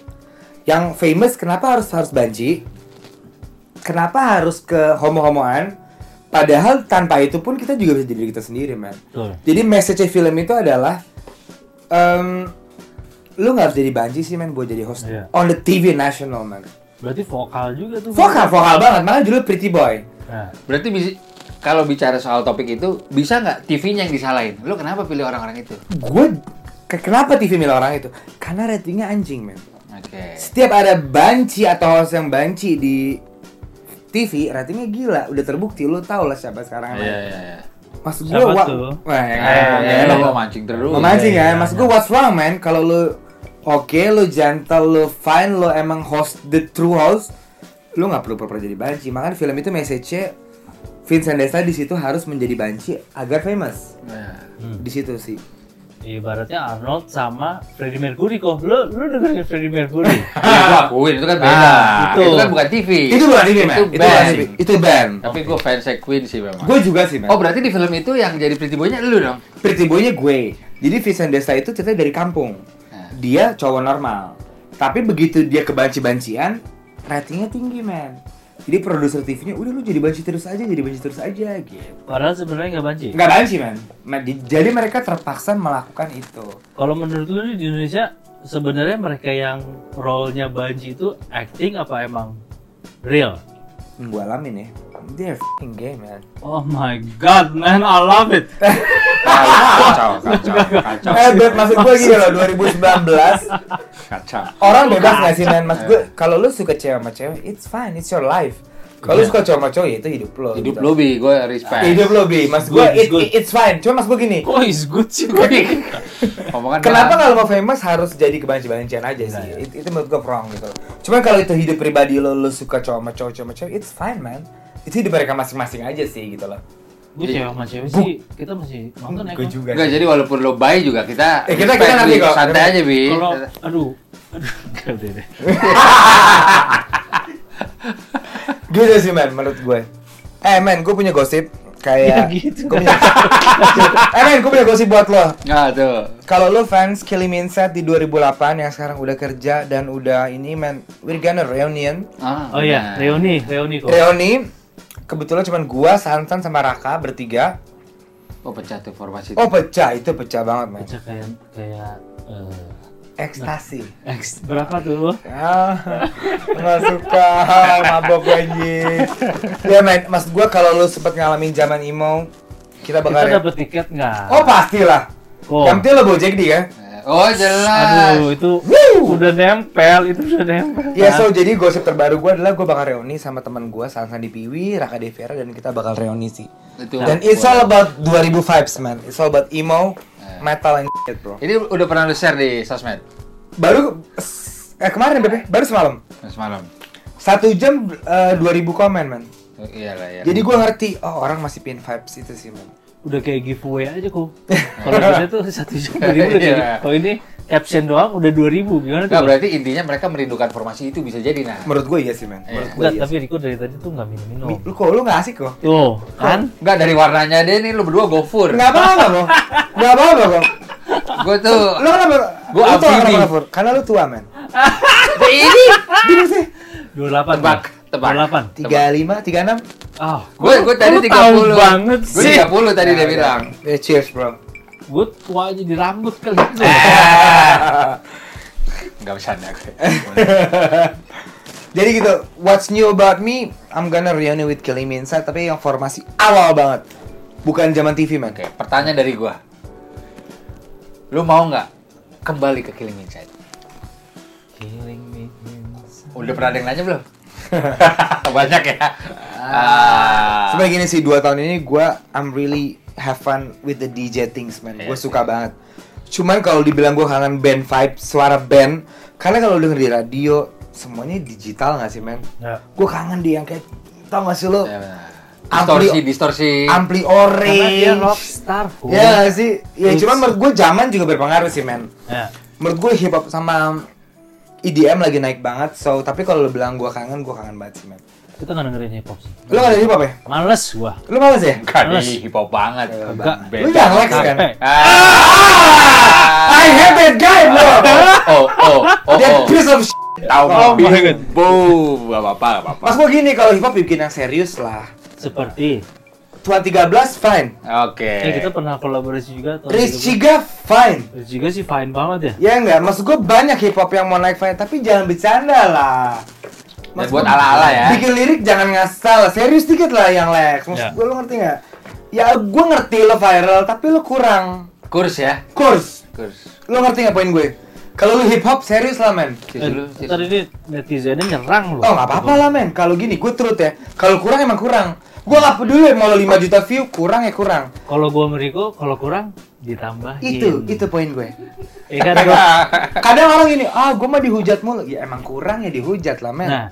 yang famous kenapa harus harus banci? Kenapa harus ke homo-homoan? Padahal tanpa itu pun kita juga bisa jadi diri kita sendiri, man.
Betul.
Jadi message film itu adalah em, lu nggak harus jadi banci sih man buat jadi host
Iya.
on the TV national man.
Berarti vokal juga tuh.
Vokal vokal banget, malah dulu Pretty Boy.
Nah,
Berarti bisa kalau bicara soal topik itu bisa nggak TV-nya yang disalahin? Lu kenapa pilih orang-orang itu?
Gue kenapa TV milih orang itu? Karena ratingnya anjing man.
Oke.
Setiap ada banci atau host yang banci di TV ratingnya gila, udah terbukti lu tau lah siapa sekarang.
Iya
man.
iya iya.
Maksud gue,
Siapa
wa-
tuh? Ah,
wah, ya,
Eh,
ya,
ya,
ya,
lu
ya.
mau mancing terus.
memancing
Iya,
ya,
iya,
maksud
iya.
gue what's wrong man kalau lu oke lu gentle lu fine lu emang host the true host lu nggak perlu pura jadi banci makanya film itu message-nya Vincent Desta di situ harus menjadi banci agar famous
Nah.
di situ sih
ibaratnya Arnold sama Freddie Mercury kok. Lu lu dengerin Freddie (laughs) Mercury?
Iya, gua akuin itu kan beda.
Ah,
itu.
itu.
kan bukan TV.
itu bukan TV man
Itu
itu bukan
band.
TV itu band
Tapi gue fans Queen sih memang.
gue juga sih man
Oh berarti di film itu yang jadi pretty boy-nya lu dong?
Pretty Boy-nya gue. Jadi Vincent Desta itu ceritanya dari kampung.
Nah.
Dia cowok normal. Tapi begitu dia kebanci-bancian, ratingnya tinggi, men. Jadi produser TV-nya, udah lu jadi banci terus aja, jadi banci terus aja, gitu.
Padahal sebenarnya nggak banci.
Nggak banci, men. Ma- di- Jadi mereka terpaksa melakukan itu.
Kalau menurut lu nih di Indonesia sebenarnya mereka yang role-nya banji itu acting apa emang real?
Yang gue alamin ya. They're f***ing gay, man.
Oh my god, man, I love it.
Kacau, kacau, kacau,
Eh, bet, maksud gue gini loh, 2019
kacau.
Orang bebas nggak sih, men? Maksud gue,
Eh.
kalau lu suka cewek sama cewek, it's fine, it's your life Kalau
Iya.
lu suka cowok sama cowok, ya itu hidup lo
Hidup
gitu.
lu bi, gue respect. Oh,
Hidup lo bi, mas gue
Good,
it,
good.
it- it's fine. Cuma mas gue gini,
Kok is good sih gue?
Bi. Omongan
kenapa
benar.
kalau mau famous harus jadi kebanci-bancian aja sih?
Nah. Iya, iya.
It- itu menurut gue wrong gitu. Cuman kalau itu hidup pribadi lo, lo suka cowok sama cowok, cowok sama cowok, it's fine man. Itu hidup mereka masing-masing aja sih gitu loh.
Gue cewek sama cewek sih, kita masih nonton ya.
Gue
Kok.
juga.
Enggak, jadi walaupun lo bayi juga kita
Eh, kita-
respect,
kita nanti
Bi.
kok.
Santai aja, Bi.
Kalau,
Iya.
aduh, aduh, (laughs) nggak deh deh.
(laughs) Gitu sih man, menurut gue. Eh man, gue punya gosip kayak.
Ya gitu.
Gue Iya, punya. eh man, gue punya gosip buat lo.
Nah, tuh.
Kalau lo fans Killing Mindset di 2008 yang sekarang udah kerja dan udah ini man, we're gonna reunion.
Ah,
Oh iya,
benar.
reuni, reuni kok.
Reoni kebetulan cuman gua, Santan sama Raka bertiga.
Oh pecah tuh formasi.
Oh pecah, itu pecah banget man.
Baca kayak kayak eh,
ekstasi
Eks- Berapa tuh lo?
ah (laughs) nggak suka mabok lagi ya men mas gua kalau lu sempat ngalamin zaman emo kita bakal ya?
Kita dapet tiket nggak?
oh pastilah
Oh.
yang penting lo gojek dia kan
Oh jelas.
Aduh, itu
Woo!
udah nempel, itu udah nempel. Kan?
Ya, so jadi gosip terbaru gue adalah gue bakal reuni sama teman gue, Sang Sandi Piwi, Raka Devera, dan kita bakal reuni sih.
Itu.
Dan it's all about 2000 vibes, man. It's all about emo,
Nah.
metal, and shit, bro.
Ini udah pernah lu share di sosmed
Baru, eh, kemarin, Bebe, baru semalam.
semalam.
Satu jam eh, dua 2000 komen, man.
Oh, iyalah ya.
Jadi gue ngerti, oh orang masih pin vibes itu sih, man.
Udah kayak giveaway aja kok. (laughs) Kalau kita tuh satu (laughs) jam dua ribu udah
Iya.
jadi. Kalau ini caption doang udah dua ribu, gimana tuh?
Nggak,
Lo?
berarti intinya mereka merindukan formasi itu bisa jadi nah.
(laughs) Menurut gue iya sih, man. Menurut gue
Nggak,
iya.
tapi Riko dari tadi tuh nggak minum-minum.
Mi- Lu kok, lu gak asik kok?
Tuh, kan?
Enggak dari warnanya deh nih lu berdua gofur.
Gak apa-apa kok. Gak apa-apa kok.
Gue tuh
Lu kenapa?
Gua
lu tua
ambibi.
kenapa, Fur? Karena lu tua, man.
ini
Bingung sih.
28.
Tebak, tebak.
28.
35, 36.
Ah,
gue gue tadi
lu tahu
30.
banget
Gue
sih.
30 tadi dia bilang. (laughs)
Eh, cheers, bro.
Gue tua aja di rambut kali.
Enggak bercanda gue.
(laughs) Jadi gitu, what's new about me? I'm gonna reunion with Killing Me Inside, tapi yang formasi awal banget. Bukan zaman TV, man.
Oke, pertanyaan dari gue. Lu mau nggak kembali ke Killing Inside?
Killing me inside.
Udah pernah ada yang nanya belum? (laughs) Banyak ya. Ah.
Sebenarnya gini sih, dua tahun ini gua I'm really have fun with the DJ things, man.
Iya
Gue
sih.
suka banget. Cuman kalau dibilang gua kangen band vibe, suara band. Karena kalau denger di radio, semuanya digital nggak sih, man?
Nggak.
Gue kangen dia yang kayak, tau gak sih lo?
Ya, benar.
Ampli-
Distorsi, distorsi.
Ampli
Karena dia
orange.
rockstar. Fu.
Ya nggak sih, ya
It's-
cuman menurut gue zaman juga berpengaruh sih, man.
Ya.
menurut gue hip hop sama EDM lagi naik banget so tapi kalau lo bilang gue kangen gue kangen banget sih man
Kita nggak dengerin hip hop sih.
lo gak ada hip hop ya
Males gua.
lo males ya
Bukan
Males.
hip hop banget.
Enggak.
Beda.
Lu yang Lex kan?
Capek.
Ah!
I hate that guy bro
(laughs) Oh, oh, oh,
that
oh.
piece of shit.
Tahu
Oh my
mobil.
God.
Boom. Gak apa-apa, gak apa-apa.
mas gue gini kalau hip hop bikin yang serius lah
Seperti.
Tuan 13 fine
Oke.
Iya,
Ya
gitu.
kita pernah kolaborasi juga.
Oh,
tahun
Rich
gitu.
2020.
Chiga fine
Rich Chiga sih fine banget ya.
ya enggak maksud gue banyak hip hop yang mau naik fine tapi jangan bercanda lah
Dan
Maksud
buat
gua,
ala-ala ya.
bikin lirik jangan ngasal serius dikit lah yang Lex maksud
Ya.
gue lo ngerti nggak ya gue ngerti lo viral tapi lo kurang
Kurs ya.
kurs
Kurs.
Lo ngerti nggak poin gue? Kalau lu hip hop serius lah men.
Cici
Eh,
lu. cici.
ntar ini netizennya nyerang lu.
Oh nggak apa-apa lah men. Kalau gini gue turut ya. Kalau kurang emang kurang. Gue nggak peduli mau lo 5 juta view kurang ya kurang.
Kalau gua meriko, kalau kurang ditambahin.
Itu itu poin gue.
Ya kan gua.
Kadang orang gini, ah gue mah dihujat mulu. Ya emang kurang ya dihujat lah men.
Nah,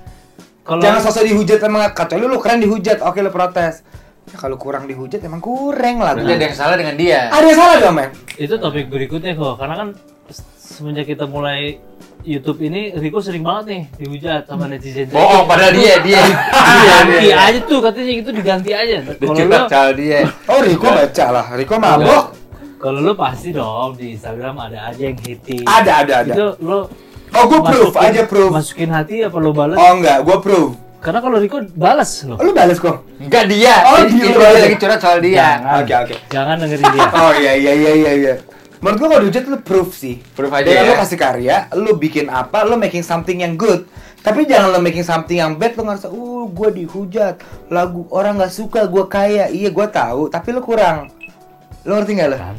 kalau
Jangan sosok dihujat emang kecuali lu keren dihujat. Oke lu protes. Ya kalau kurang dihujat emang kurang lah.
Berarti ada
men.
yang salah dengan dia.
Ada yang salah dong men.
itu topik berikutnya kok karena kan se- semenjak kita mulai YouTube ini Riko sering banget nih dihujat
Hmm.
sama netizen.
Bohong pada dia, dia.
(laughs) Iya,
Diganti aja tuh katanya itu diganti aja. Kalau lu
Dicetak cal
(laughs)
dia.
Oh Riko baca lah. Riko mabok.
kalau lu pasti dong di Instagram ada aja yang hating.
Ada ada ada.
Itu lu
Oh gue proof
masukin-
aja proof.
Masukin hati apa lu balas?
Oh enggak, gue proof.
Karena kalau Riko balas lo.
Lu balas kok.
Enggak dia.
Oh,
Ini-
dia.
ini dia lagi curhat soal dia.
Iya. Oke oke.
Jangan dengerin
(laughs)
dia.
Oh iya iya iya iya iya. Menurut gua kalau dihujat lu proof sih.
Proof aja
Dengan
ya.
lu kasih karya, lu bikin apa, lu making something yang good. Tapi jangan lu making something yang bad, lu ngerasa, uh gua dihujat, lagu orang nggak suka, gua kaya, iya gua tahu, tapi lu kurang. Lu ngerti nggak lu?
Kan.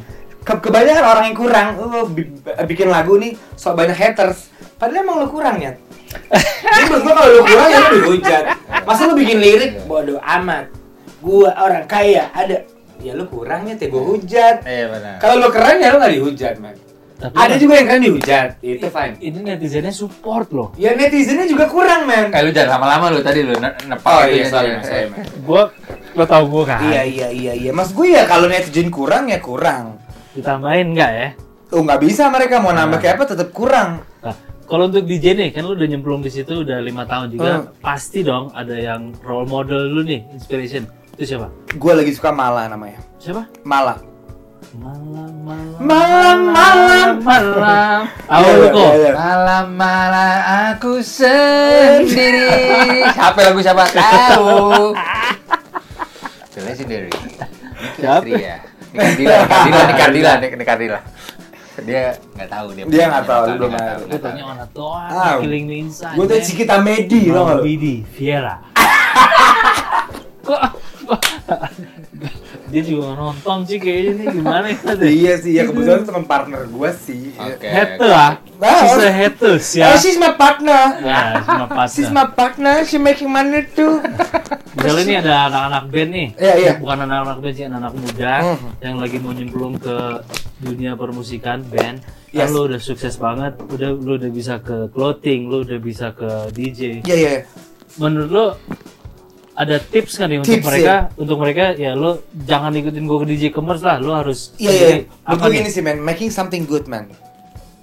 Ke- kebanyakan orang yang kurang, uh, bi- bikin lagu nih, sok banyak haters. Padahal emang lu kurang ya. Jadi menurut gua kalau lu kurang ya lu dihujat. Masa lu bikin lirik, bodoh amat. Gua orang kaya, ada. Ya lu kurangnya, teh gua hujat.
Iya benar.
Kalau lo keren ya lo nggak dihujat, man.
Tapi kan
Ada juga yang keren dihujat, itu fine.
ini netizennya support loh.
Ya netizennya juga kurang, man.
Eh lu jangan lama-lama lu tadi lu ne- nepak
Oh
itu
iya,
ya,
sorry,
dia.
man, sorry,
Eh,
man.
Gua lo tau gua kan.
Iya iya iya iya. Mas gue ya kalau netizen kurang ya kurang.
Ditambahin enggak ya?
Oh nggak bisa mereka mau nambah kayak apa tetap kurang.
Nah, kalau untuk DJ nih, kan lu udah nyemplung di situ udah lima tahun juga,
Hmm.
pasti dong ada yang role model lu nih, inspiration. Itu siapa?
Gue lagi suka Mala namanya.
Siapa?
Mala.
Malam, malam,
Malam, malam.
malam.
Iya,
Awal lu
iya,
kok.
iya, iya.
Malam-malam aku sendiri. Siapa lagu siapa tahu? The Legendary.
Siapa?
Siapa? Ya. Nikardila, Nikardila, Nikardila, Nikardila. Dia nggak tahu dia.
Dia nggak tahu, dia belum
nggak
ada.
tahu,
Gue
nggak
tanya
tahu.
on a toa,
iya. Ah,
killing me inside.
Gue tuh
man.
Cikita Medi lo
Bang
nggak? lu?
Bidi, Viera. Kok? Dia juga nggak nonton sih kayaknya nih gimana ya tadi.
Iya sih, ya kebetulan teman partner gue sih.
Oke.
Hater ah.
Nah,
She's a
orang-
hater ya.
Eh, she's my partner.
Ya, cuma pas.
She's my partner, she making money too.
Misalnya ini ada anak-anak band nih.
Iya, iya.
Bukan anak-anak band sih, anak-anak muda
Mhm.
yang lagi mau nyemplung ke dunia permusikan band.
Yes.
Kan lo udah sukses banget, udah lo udah bisa ke clothing, lo udah bisa ke DJ.
Iya, iya.
menurut lo ada tips kan nih untuk
Tips,
mereka untuk mereka ya lo jangan ikutin gue ke DJ Kemers lah lo harus kan
Iya, iya.
sendiri. apa
Menurut gue
nih
gini sih, man. Making something good, man.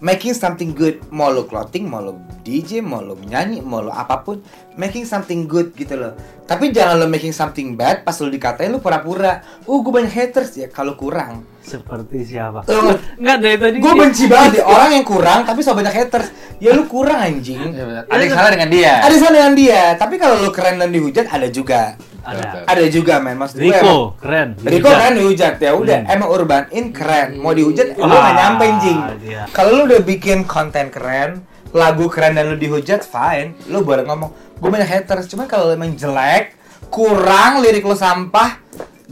Making something good, mau lo clothing, mau lo DJ, mau lo nyanyi, mau lo apapun, making something good gitu loh. Tapi jangan lo making something bad, pas lo dikatain lo pura-pura. Uh, gue banyak haters ya, kalau kurang.
seperti siapa
Eh,
nggak dari tadi
Gue
dia-
benci banget deh, orang yang kurang tapi so banyak haters. Ya lu kurang anjing.
Iya, benar. Ada yang salah dengan dia.
Ada salah dengan dia, tapi kalau lu keren dan dihujat ada juga.
ada
Ada juga men, maksud gue
Rico
emang-
keren
Rico kan dihujat ya udah
Hmm.
emang Urban In keren mau dihujat lu
Ah,
nggak nyampe anjing
iya.
kalau lu udah bikin konten keren lagu keren dan lu dihujat fine lu boleh ngomong gue banyak haters cuman kalau lu emang jelek kurang lirik lu sampah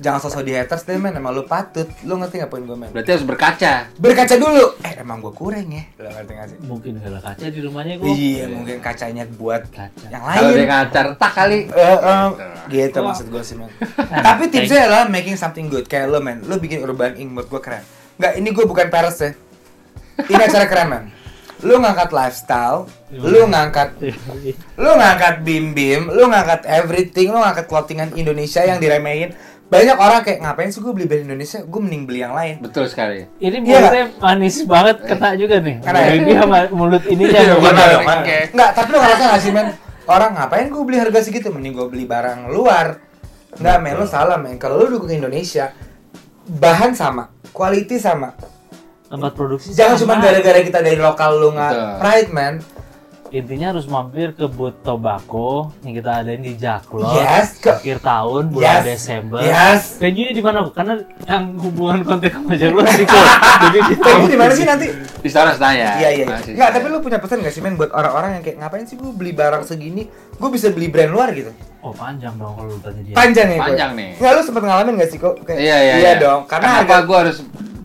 jangan sosok di haters deh men emang lu patut lu ngerti nggak poin gue men
Berarti harus berkaca.
berkaca dulu eh emang gue kurang ya lu ngerti nggak sih
mungkin galak kaca di rumahnya gue
iya mungkin kacanya buat
Kaca.
yang
Kalau dia
lain
ngacar, tak kali.
Eh, eh, gitu
Wah.
maksud gue sih men tapi tipsnya adalah making something good kayak lo men lo bikin urban ink menurut gue keren nggak ini gue bukan Paris ya ini acara keren men lo ngangkat lifestyle lo ngangkat lo ngangkat bim bim lo ngangkat everything lo ngangkat clothingan Indonesia yang diremehin banyak orang kayak ngapain sih gue beli brand Indonesia gue mending beli yang lain
Betul sekali.
(laughs) ini
Iya.
mulutnya manis banget kena juga nih
Kena
Mulut
ya?
ini sama mulut ini
Iya,
yang
benar.
benar.
Oke.
Nggak, tapi lo ngerasa nggak sih men? Orang ngapain gue beli harga segitu? Mending gue beli barang luar. Nggak men, lo salah men. Kalau lo dukung Indonesia, bahan sama, quality sama.
tempat produksi
Jangan
sama.
cuma gara-gara kita dari lokal lo nggak
Betul.
pride man.
intinya harus mampir ke Booth Tobacco yang kita adain di Jaklot
Yes, ke-
akhir tahun
Yes,
bulan Desember.
yes.
Venue di mana? Bu? Karena yang hubungan kontak sama Jaklot Riko. Jadi di
Tapi di mana sih nanti?
Di sana saya.
Iya iya. iya. Nggak, tapi lo punya pesan nggak sih men buat orang-orang yang kayak ngapain sih gue beli barang segini? Gue bisa beli brand luar gitu.
Oh panjang dong kalau lu tanya dia.
Panjang ya. Koy?
Panjang nih.
Nggak lo sempet ngalamin nggak sih kok? Kayak,
Iya iya.
dong. Karena
Kenapa
harga-
gua harus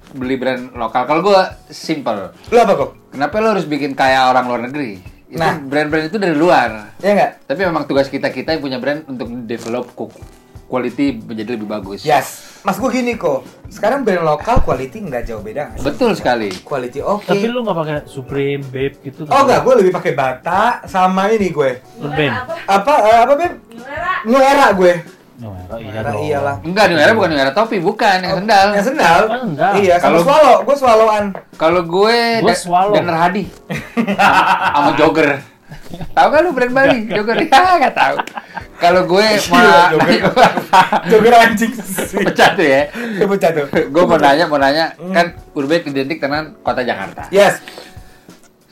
beli brand lokal? Kalau gua simple.
lo apa kok?
Kenapa lo harus bikin kaya orang luar negeri? Itu
Nah.
brand-brand itu dari luar.
Iya nggak?
Tapi memang tugas kita kita yang punya brand untuk develop ku- quality menjadi lebih bagus.
Yes. Mas gue gini kok. Sekarang brand lokal quality nggak jauh beda. nggak sih?
Betul sekali.
Quality oke.
Tapi lu nggak pakai Supreme, Babe gitu?
Oh enggak, gue lebih pakai bata sama ini gue.
Urban.
apa?
Apa eh, apa beb?
Ngelera.
New era gue.
No, iya
Era
dong.
iyalah.
Enggak, New Era bukan New Era topi, bukan yang sendal.
Yang sendal.
Oh, sendal.
Iya, sama
Kalau-
swallow. Gue swallowan.
Kalau gue
Gua
Da-
swallow.
Danner
(laughs)
Hadi sama jogger. Tahu kan lu brand Bali? Jogger (laughs) ya enggak tahu. Kalau gue
(laughs) Iya,
mau
jogger.
(laughs)
Joger anjing (laughs) sih.
pecah tuh ya.
Itu pecah tuh.
Gue mau nanya, mau nanya kan urban identik dengan kota Jakarta.
Yes.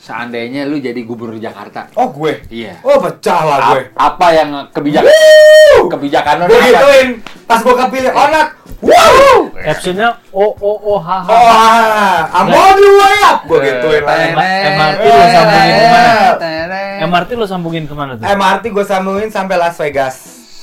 Seandainya lu jadi gubernur Jakarta,
Oh gue.
Iya.
Oh pecah lah
a-
gue.
apa yang kebijakan kebijakan lu
Gue
apa?
gituin. Pas gue kepilih onat. Wow.
Captionnya O O O H H.
Oh, ah, I'm on the way up. Gue
Eh,
gituin lah.
MRT
lu
Teret,
sambungin kemana?
teret.
MRT lo sambungin kemana tuh?
MRT gue sambungin sampai Las Vegas.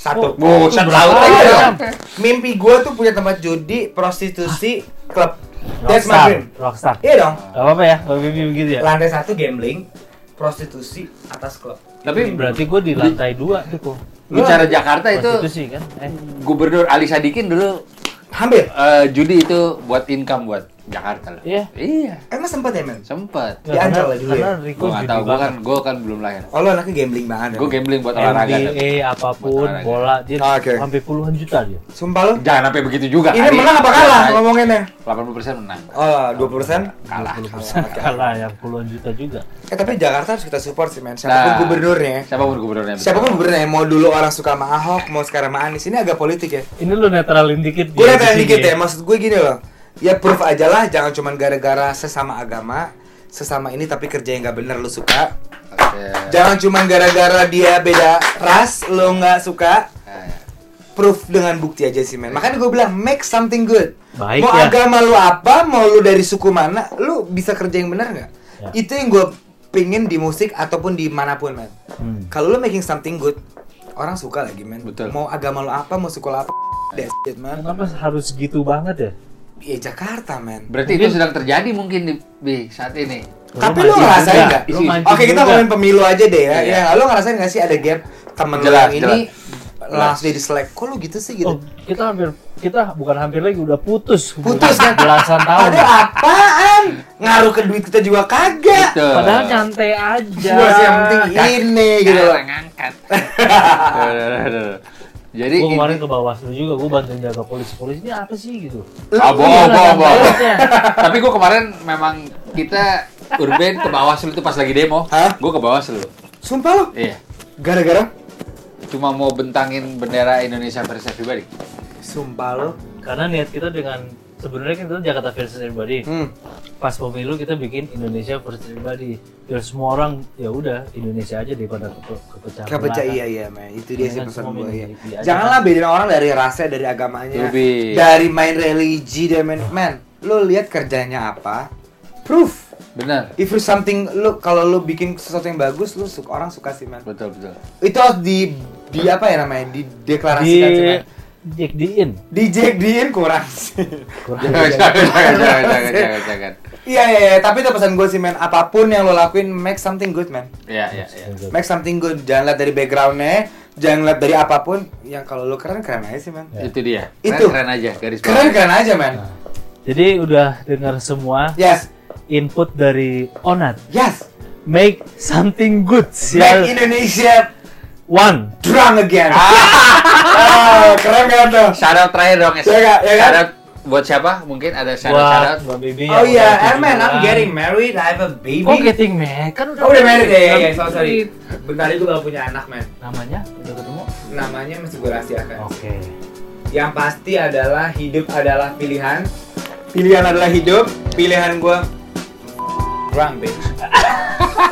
Satu.
Oh, buset, laut
Iya
aja
dong.
dong.
Mimpi gue tuh punya tempat judi, prostitusi, klub. That's my
Rockstar.
dream.
Rockstar.
Iya dong.
Gak apa-apa ya, kalau Bibi begitu ya.
Lantai satu gambling, prostitusi, atas klub.
Tapi
Berarti gue di lantai dua tuh kok.
bicara Jakarta
Nah,
itu
Prostitusi kan? Eh.
gubernur Ali Sadikin dulu
Hampir.
eh, judi itu buat income buat Jakarta loh.
Iya.
Iya,
Emang sempet ya men?
sempet.
Di Ancol lah dulu ya?
Karena Rico
Gue nggak
judi
tahu, gue kan
gitu banget.
gue kan belum lahir.
Oh lo anaknya gambling banget. ya?
Gue gambling buat olahraga. tuh.
NBA apapun,
Buat olahraga.
bola, dia
Ah, Oke.
sampai puluhan juta dia.
Sumpah lo.
Jangan sampai begitu juga.
Ini menang apa kalah ngomonginnya?
80 persen menang.
Oh, 20 persen?
Kalah.
Kalah yang puluhan juta juga.
Eh tapi Jakarta harus kita support sih men. Siapapun
Nah,
gubernurnnya.
Siapapun gubernurnya. betul.
Siapapun gubernurnya. Mau dulu orang suka sama Ahok, mau sekarang sama Anies. Ini agak politik ya.
Ini lu netralin
gue
dikit.
lihat yang
dia di Iya, sini
dikit ya maksud gue gini loh ya proof aja lah jangan cuman gara-gara sesama agama sesama ini tapi kerja yang nggak bener lu suka
Oke.
jangan cuman gara-gara dia beda ras lu nggak suka
Nah, ya.
proof dengan bukti aja sih men makanya gue bilang make something good
Baik,
mau
ya.
agama lu apa mau lu dari suku mana lu bisa kerja yang benar nggak
Ya.
itu yang gue pingin di musik ataupun di manapun men
Hmm.
kalau lu making something good orang suka lagi men
Betul.
mau agama lu apa mau suku lu apa that's it man
Kenapa harus gitu banget ya?
ya Jakarta men
Berarti itu sedang terjadi mungkin di, di saat ini.
tapi lu
Lu mancing
ngerasain
juga.
nggak
Lu
Oke,
mancing
Oke kita
juga.
ngomongin pemilu aja deh ya.
Iya.
Ya, lo ngerasain gak sih ada gap temen lo
Jelas,
yang ini
jelas.
langsung jadi selek. Kok lo gitu sih gitu?
Oh, kita hampir kita bukan hampir lagi udah putus.
Putus kan?
Hubungan
(laughs)
belasan tahun.
Ada apaan? Ngaruh ke duit kita juga kagak.
Betul.
Padahal nyantai
Gitu.
aja.
Cuma sih yang penting
Iya.
ini gitu loh.
ngangkat. Jadi
Gue
ini-
kemarin ke Bawaslu juga, gue bantuin jaga polisi. Polisi ini apa sih gitu?
Ah, bohong,
Iya,
bohong,
nggak
bohong.
ya.
beresnya.
(laughs) Tapi gue kemarin memang kita urban ke Bawaslu itu pas lagi demo.
Hah?
Gue ke Bawaslu.
Sumpah lo,
Iya.
gara-gara
Cuma mau bentangin bendera Indonesia versi everybody.
sumpah lo.
Karena niat kita dengan sebenarnya kita Jakarta versus everybody.
Hmm.
Pas pemilu kita bikin Indonesia versus everybody. Biar semua orang ya udah Indonesia aja daripada ke kepecahan.
Kepecah
belahan.
iya iya men, itu dia sih
Mendingan
pesan
semua
gue ya.
milih-milih aja.
Janganlah bedain orang dari rasnya, dari agamanya,
Lebih.
dari main religi, dari main men. Lo lihat kerjanya apa? Proof.
Benar.
If you something lu kalau lu bikin sesuatu yang bagus lu suka orang suka sih man.
Betul betul.
Itu harus di di apa ya namanya? Di
Di
deklarasikan sih man.
Jack Diin.
Di Jack Dean kurang sih. (laughs)
Jangan jangan jangan jangan jangan jangan. jangan.
Iya iya iya, tapi itu pesan gue sih man. Apapun yang lo lakuin make something good man.
Iya iya iya.
gitu.
Make something good. Jangan lihat dari backgroundnya, jangan lihat dari apapun. Yang kalau lu keren keren aja sih man.
Ya. Nah.
Itu dia. Keren,
Itu.
keren aja garis
Keren
bawah.
keren aja man.
Jadi udah dengar semua
Yes
input dari Onat.
yes.
Make something good. sial.
Make Indonesia
One.
drunk again. (laughs) Ah, keren kan tuh.
Shout out terakhir dong. Es.
Iya, Kak, iya, Kak?
Shout out buat siapa? Mungkin ada shout out shout out.
Buat Mbak Bibi
Oh
yang
iya,
udah
and man, I'm
tujuan.
getting married, I have a baby.
Kok getting married? Kan udah
Oh, udah married ya, ya, ya,
Udah
sorry, sorry.
married.
Bentar itu baru punya anak, men.
Namanya udah ketemu.
Namanya masih gue rahasiakan.
Oke.
Yang pasti adalah hidup adalah pilihan. Pilihan adalah hidup. Pilihan gue drunk, bitch.